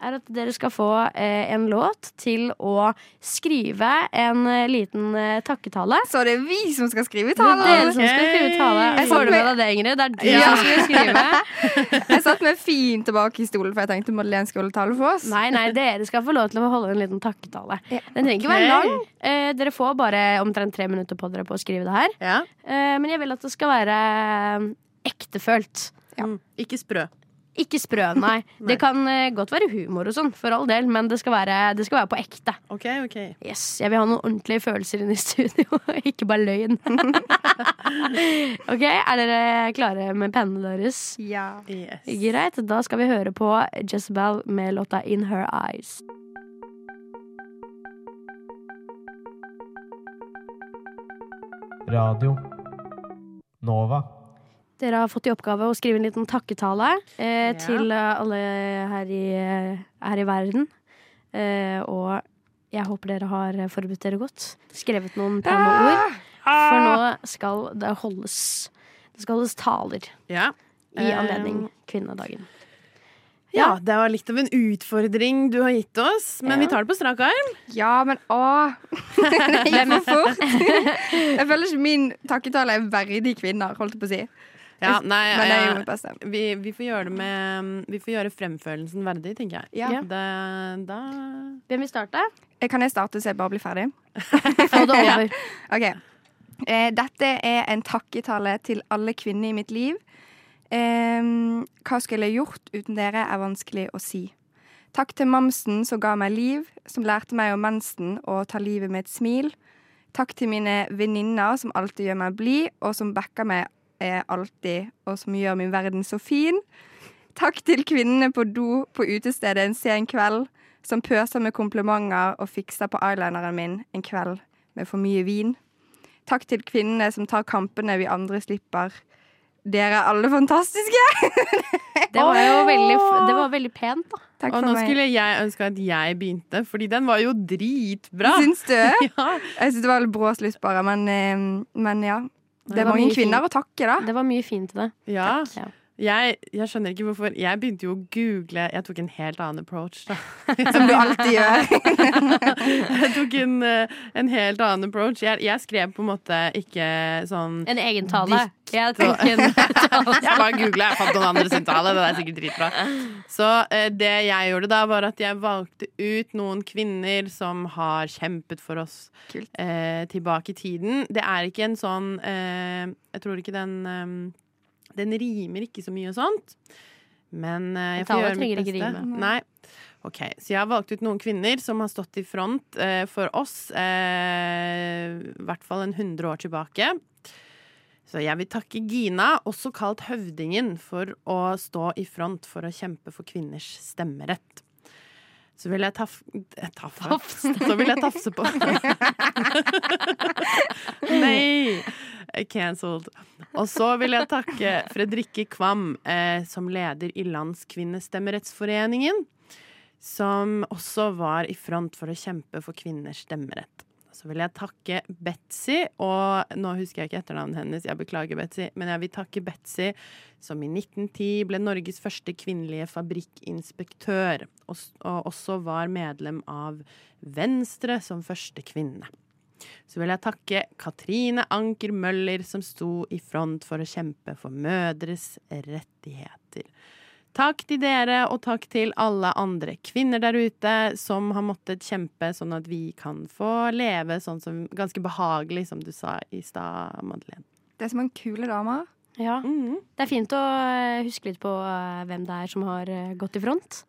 S3: er at dere skal få eh, en låt til å skrive en eh, liten eh, takketale.
S6: Så det er vi som skal skrive
S3: Det er dere
S6: talen!
S3: som skal skrive tale.
S4: Ok.
S3: Får du med deg det, Ingrid? Det er du
S6: Ja.
S3: som skal skrive.
S6: Jeg satt meg fint tilbake i stolen, for jeg tenkte Madeleine skulle holde tale for oss.
S3: Nei, nei, dere skal få lov til å holde en liten takketale. Den trenger ikke
S4: Ok.
S3: være lang. Eh, dere får bare omtrent tre minutter på dere på å skrive det her.
S4: Ja.
S3: Eh, men jeg vil at det skal være eh, ektefølt.
S4: Mm. Ikke sprø.
S3: Ikke sprø, nei. Det kan eh, godt være humor og sånn, for all del, men det skal være, det skal være på ekte.
S4: OK, OK.
S3: Yes, Jeg vil ha noen ordentlige følelser inne i studio, ikke bare løgn. ok, Er dere klare med pennene deres?
S6: Ja.
S4: Yes.
S3: Greit, da skal vi høre på Jezebel med låta In Her Eyes.
S1: Radio Nova.
S3: Dere har fått i oppgave å skrive en liten takketale eh,
S4: Ja.
S3: til eh, alle her i, her i verden. Eh, og jeg håper dere har forberedt dere godt. Skrevet noen pene ord. For nå skal det holdes, det skal holdes taler
S4: Ja.
S3: i anledning kvinnedagen.
S4: Ja, det var litt av en utfordring du har gitt oss, men
S3: Ja.
S4: vi tar det på strak arm.
S6: ja, men å! Det gikk for fort. Jeg føler ikke min takketale er verdig kvinner, holdt jeg på å si.
S4: Ja, nei,
S6: Men jeg
S4: jeg-
S6: gjorde mitt beste.
S4: vi, vi får gjøre det med Vi får gjøre fremførelsen verdig, tenker jeg.
S6: Ja.
S4: Det, da
S3: Hvem vil starte?
S6: Kan jeg starte så jeg bare blir ferdig?
S3: Få det over.
S6: Ok. Eh, dette er en takketale til alle kvinner i mitt liv. Eh, hva skulle jeg gjort uten dere, er vanskelig å si. Takk til mamsen som ga meg liv, som lærte meg om mensen og å ta livet med et smil. Takk til mine venninner som alltid gjør meg blid, og som backer meg eh, alltid, og som gjør min verden så fin. Takk til kvinnene på do på utestedet en sen kveld, som pøser med komplimenter og fikser på eyelineren min en kveld med for mye vin. Takk til kvinnene som tar kampene vi andre slipper. Dere er alle fantastiske!
S3: Det var jo veldig, f- det var veldig pent, da.
S6: Takk
S4: Og
S6: for
S4: nå
S6: meg.
S4: skulle jeg ønske at jeg begynte, fordi den var jo dritbra.
S6: Syns du? Jeg
S4: Ja.
S6: syns det var litt brå slutt, bare. Men, eh, men ja. Det
S3: Det
S6: er
S3: var
S6: mange
S3: mye fint.
S6: kvinner å takke, da.
S3: Det var mye fint i det.
S4: ja.
S3: Ja.
S4: Jeg, jeg skjønner ikke hvorfor Jeg begynte jo å google Jeg tok en helt annen approach, da.
S6: Som du alltid gjør.
S4: Jeg tok en, eh, en helt annen approach. Jeg, jeg skrev på en måte ikke sånn
S3: En egen tale.
S4: Dikt
S3: Jeg tok en tale.
S4: Jeg bare googla, jeg fant noen andre sin tale. Det er sikkert dritbra. Så eh, det jeg gjorde da, var at jeg valgte ut noen kvinner som har kjempet for oss
S6: Kult.
S4: eh, tilbake i tiden. Det er ikke en sånn eh, Jeg tror ikke den eh, Den rimer ikke så mye og sånt. Men eh, jeg får
S3: Tale
S4: gjøre mitt
S3: trenger ikke
S4: beste.
S3: rime.
S4: Nei. Ok, Så jeg har valgt ut noen kvinner som har stått i front eh, for oss, eh, i hvert fall en 100 år tilbake. Så jeg vil takke Gina, også kalt Høvdingen, for å stå i front for å kjempe for kvinners stemmerett. Så vil jeg taf... eh, Taffe? Så vil jeg tafse på Nei! Eh, Cancelled. Og så vil jeg takke Fredrikke Kvam, eh, som leder i Landskvinnestemmerettsforeningen, som også var i front for å kjempe for kvinners stemmerett. Så vil jeg takke Betzy, og nå husker jeg ikke etternavnet hennes, jeg beklager, Betzy, men jeg vil takke Betzy, som i 1910 ble Norges første kvinnelige fabrikkinspektør, og, s- og også var medlem av Venstre som første kvinne så vil jeg takke Katrine Anker Møller, som sto i front for å kjempe for mødres rettigheter. Takk til dere, og takk til alle andre kvinner der ute som har måttet kjempe, sånn at vi kan få leve sånn som ganske behagelig, som du sa i stad, Madeleine.
S6: Det er så mange kule damer.
S3: Ja.
S4: Mhm.
S3: Det er fint å eh, huske litt på eh, hvem det er som har eh, gått i front.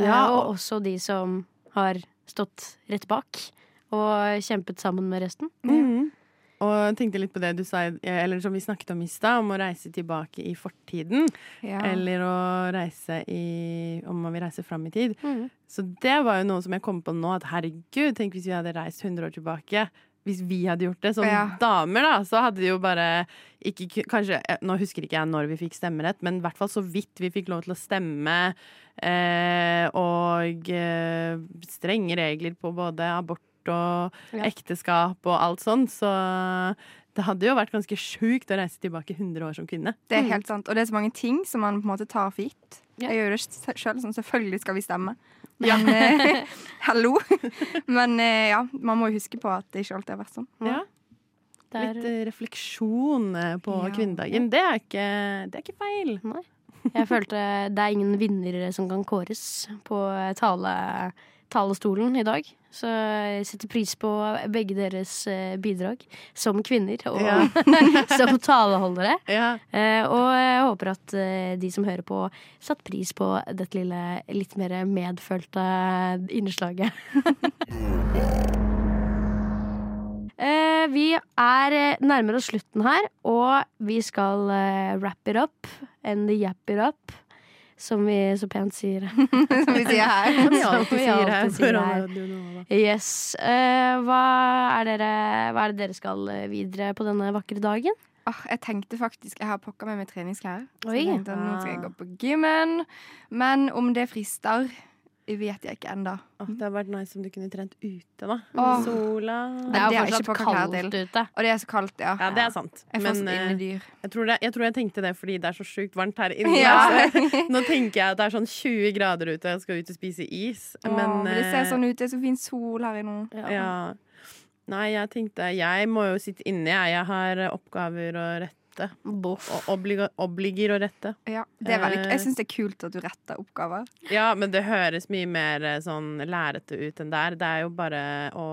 S4: Ja,
S3: Eh,
S4: og
S3: og også de som har stått rett bak og kjempet sammen med resten.
S4: Mhm. Og jeg tenkte litt på det du sa, i- eller som vi snakket om i stad, om å reise tilbake i fortiden.
S6: Ja.
S4: Eller å reise i Om man vil reise fram i tid.
S3: Mhm.
S4: Så det var jo noe som jeg kom på nå, at herregud, tenk hvis vi hadde reist 100 år tilbake. Hvis vi hadde gjort det som
S6: Ja.
S4: damer, da, så hadde det jo bare ikke ku- Kanskje eh, Nå husker ikke jeg når vi fikk stemmerett, men i hvert fall så vidt vi fikk lov til å stemme. Eh, og eh, strenge regler på både abort og
S3: Ja.
S4: ekteskap og alt sånt. Så det hadde jo vært ganske sjukt å reise tilbake 100 år som kvinne.
S6: Det er helt sant. Og det er så mange ting som man på en måte tar for gitt.
S3: Ja.
S6: Jeg gjør det sjøl, sånn selvfølgelig skal vi stemme. Men eh, hallo! Men eh, ja, man må jo huske på at det ikke alltid har vært sånn.
S3: Ja. Det er-
S4: Litt eh, refleksjon eh, på
S6: Ja.
S4: kvinnedagen. Det er ikke, det er ikke feil.
S3: Jeg følte det er ingen vinnere som kan kåres på eh, tale, talestolen i dag. Så jeg setter pris på begge deres eh, bidrag som kvinner og
S4: Ja.
S3: som taleholdere.
S4: Ja.
S3: Eh, Og jeg håper at eh, de som hører på, satte pris på dette lille, litt mer medfølte innslaget. Eh, Vi er eh, nærmere oss slutten her, og vi skal eh, wrap it up and wrap it up, som vi så pent sier.
S6: Som vi sier her.
S4: Som vi alltid sier her.
S3: sier
S4: på
S3: her.
S4: Radio Nova.
S3: Yes. Eh, Hva er, dere, hva er det dere skal eh, videre på denne vakre dagen?
S6: Ah, jeg tenkte faktisk Jeg har pakka med meg treningsklær. Så
S3: Oi.
S6: jeg tenkte at nå skal
S4: Ah.
S6: jeg gå på gymmen. Men om det frister, vet jeg ikke ennå.
S4: Åh, det hadde vært nice om du kunne trent ute, da.
S6: Åh.
S4: Sola
S6: Det er jo
S3: Det er
S6: fortsatt
S3: fortsatt
S6: pakka klær
S3: kaldt
S6: til.
S3: ute.
S6: Og det er så kaldt, ja.
S4: Ja, det er sant.
S6: Jeg får
S4: Men
S6: sånn
S4: eh,
S6: innedyr.
S4: jeg tror, det, jeg tror jeg tenkte det fordi det er så sjukt varmt her inne.
S6: Ja.
S4: Så Nå tenker jeg at det er sånn 20 grader ute, jeg skal ut og spise is.
S6: Åh,
S4: Men,
S6: men det ser
S4: eh,
S6: sånn ut. Det er så fin sol her i nå.
S4: ja. Nei, jeg tenkte Jeg må jo sitte inne, jeg. Jeg har eh, oppgaver å rette. Og obliga- obliger å rette.
S6: Ja, det er veldig,
S4: Eh.
S6: jeg syns det er kult at du retter oppgaver.
S4: Ja, men det høres mye mer eh, sånn lærete ut enn det er. Det er jo bare å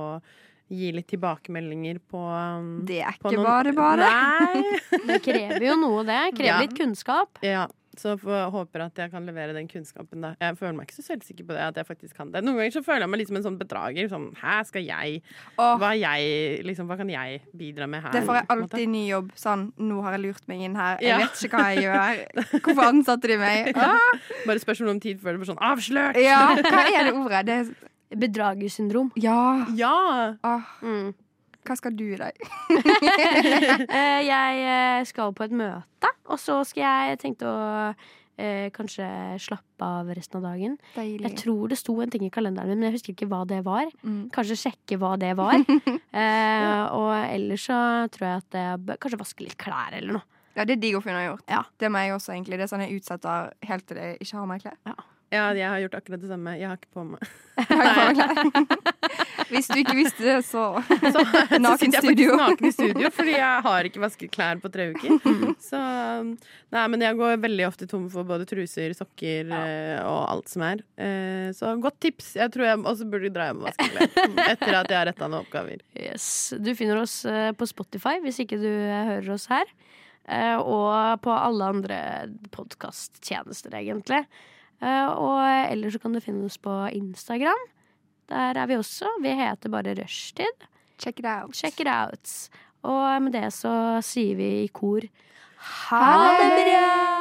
S4: gi litt tilbakemeldinger på um,
S6: Det er
S4: på
S6: ikke
S4: noen-
S6: bare bare.
S4: Nei!
S3: Det krever jo noe, det. Krever
S4: Ja.
S3: litt kunnskap.
S4: Ja, så jeg håper at jeg kan levere den kunnskapen. Da. Jeg føler meg ikke så selvsikker på det. At jeg faktisk kan det Noen ganger så føler jeg meg litt som en sånn bedrager. Sånn, Hæ, skal jeg
S6: Åh,
S4: Hva, er jeg liksom, hva kan jeg bidra med her?
S6: det får jeg
S4: på en måte?
S6: alltid i ny jobb. Sånn, nå har jeg lurt meg inn her.
S4: Ja.
S6: Jeg vet ikke hva jeg gjør. Hvorfor ansatte de meg? Åh,
S4: Bare spørsmål om tid før det blir sånn avslørt!
S6: ja, hva er det ordet? Det er,
S3: Bedragersyndrom.
S6: ja.
S4: Ja!
S6: Åh,
S3: Mm.
S6: hva skal du i dag?
S3: Eh, jeg eh, skal på et møte, og så skal jeg jeg tenkte å eh, kanskje slappe av resten av dagen.
S6: Deilig.
S3: Jeg tror det sto en ting i kalenderen min, men jeg husker ikke hva det var.
S6: Mm.
S3: Kanskje sjekke hva det var. Eh, og ellers så tror jeg at jeg bør kanskje vaske litt klær eller noe.
S6: Ja, det er digg å få unnagjort.
S3: Ja.
S6: Det må jeg også, egentlig. Det er sånn jeg utsetter helt til jeg ikke har mer klær.
S4: Ja, jeg har gjort akkurat det samme. Jeg har ikke på meg
S6: Jeg har ikke på meg klær. Hvis du ikke visste det, så
S4: Så, så sitter jeg faktisk
S6: Nakenstudio.
S4: naken i studio, fordi jeg har ikke vasket klær på tre uker. Så Nei, men jeg går veldig ofte tom for både truser, sokker eh, og alt som er. Eh, Så godt tips. Jeg tror jeg også burde dra hjem og vaske klær etter at jeg har retta noen oppgaver.
S3: Yes. Du finner oss eh, på Spotify hvis ikke du eh, hører oss her. Eh, Og på alle andre podkasttjenester, egentlig. Eh, Og ellers så kan du finne oss på Instagram. Der er vi også. Vi heter bare Rushtid.
S6: Check it out.
S3: Check it out. Og med det så sier vi i kor
S6: Ha det bra!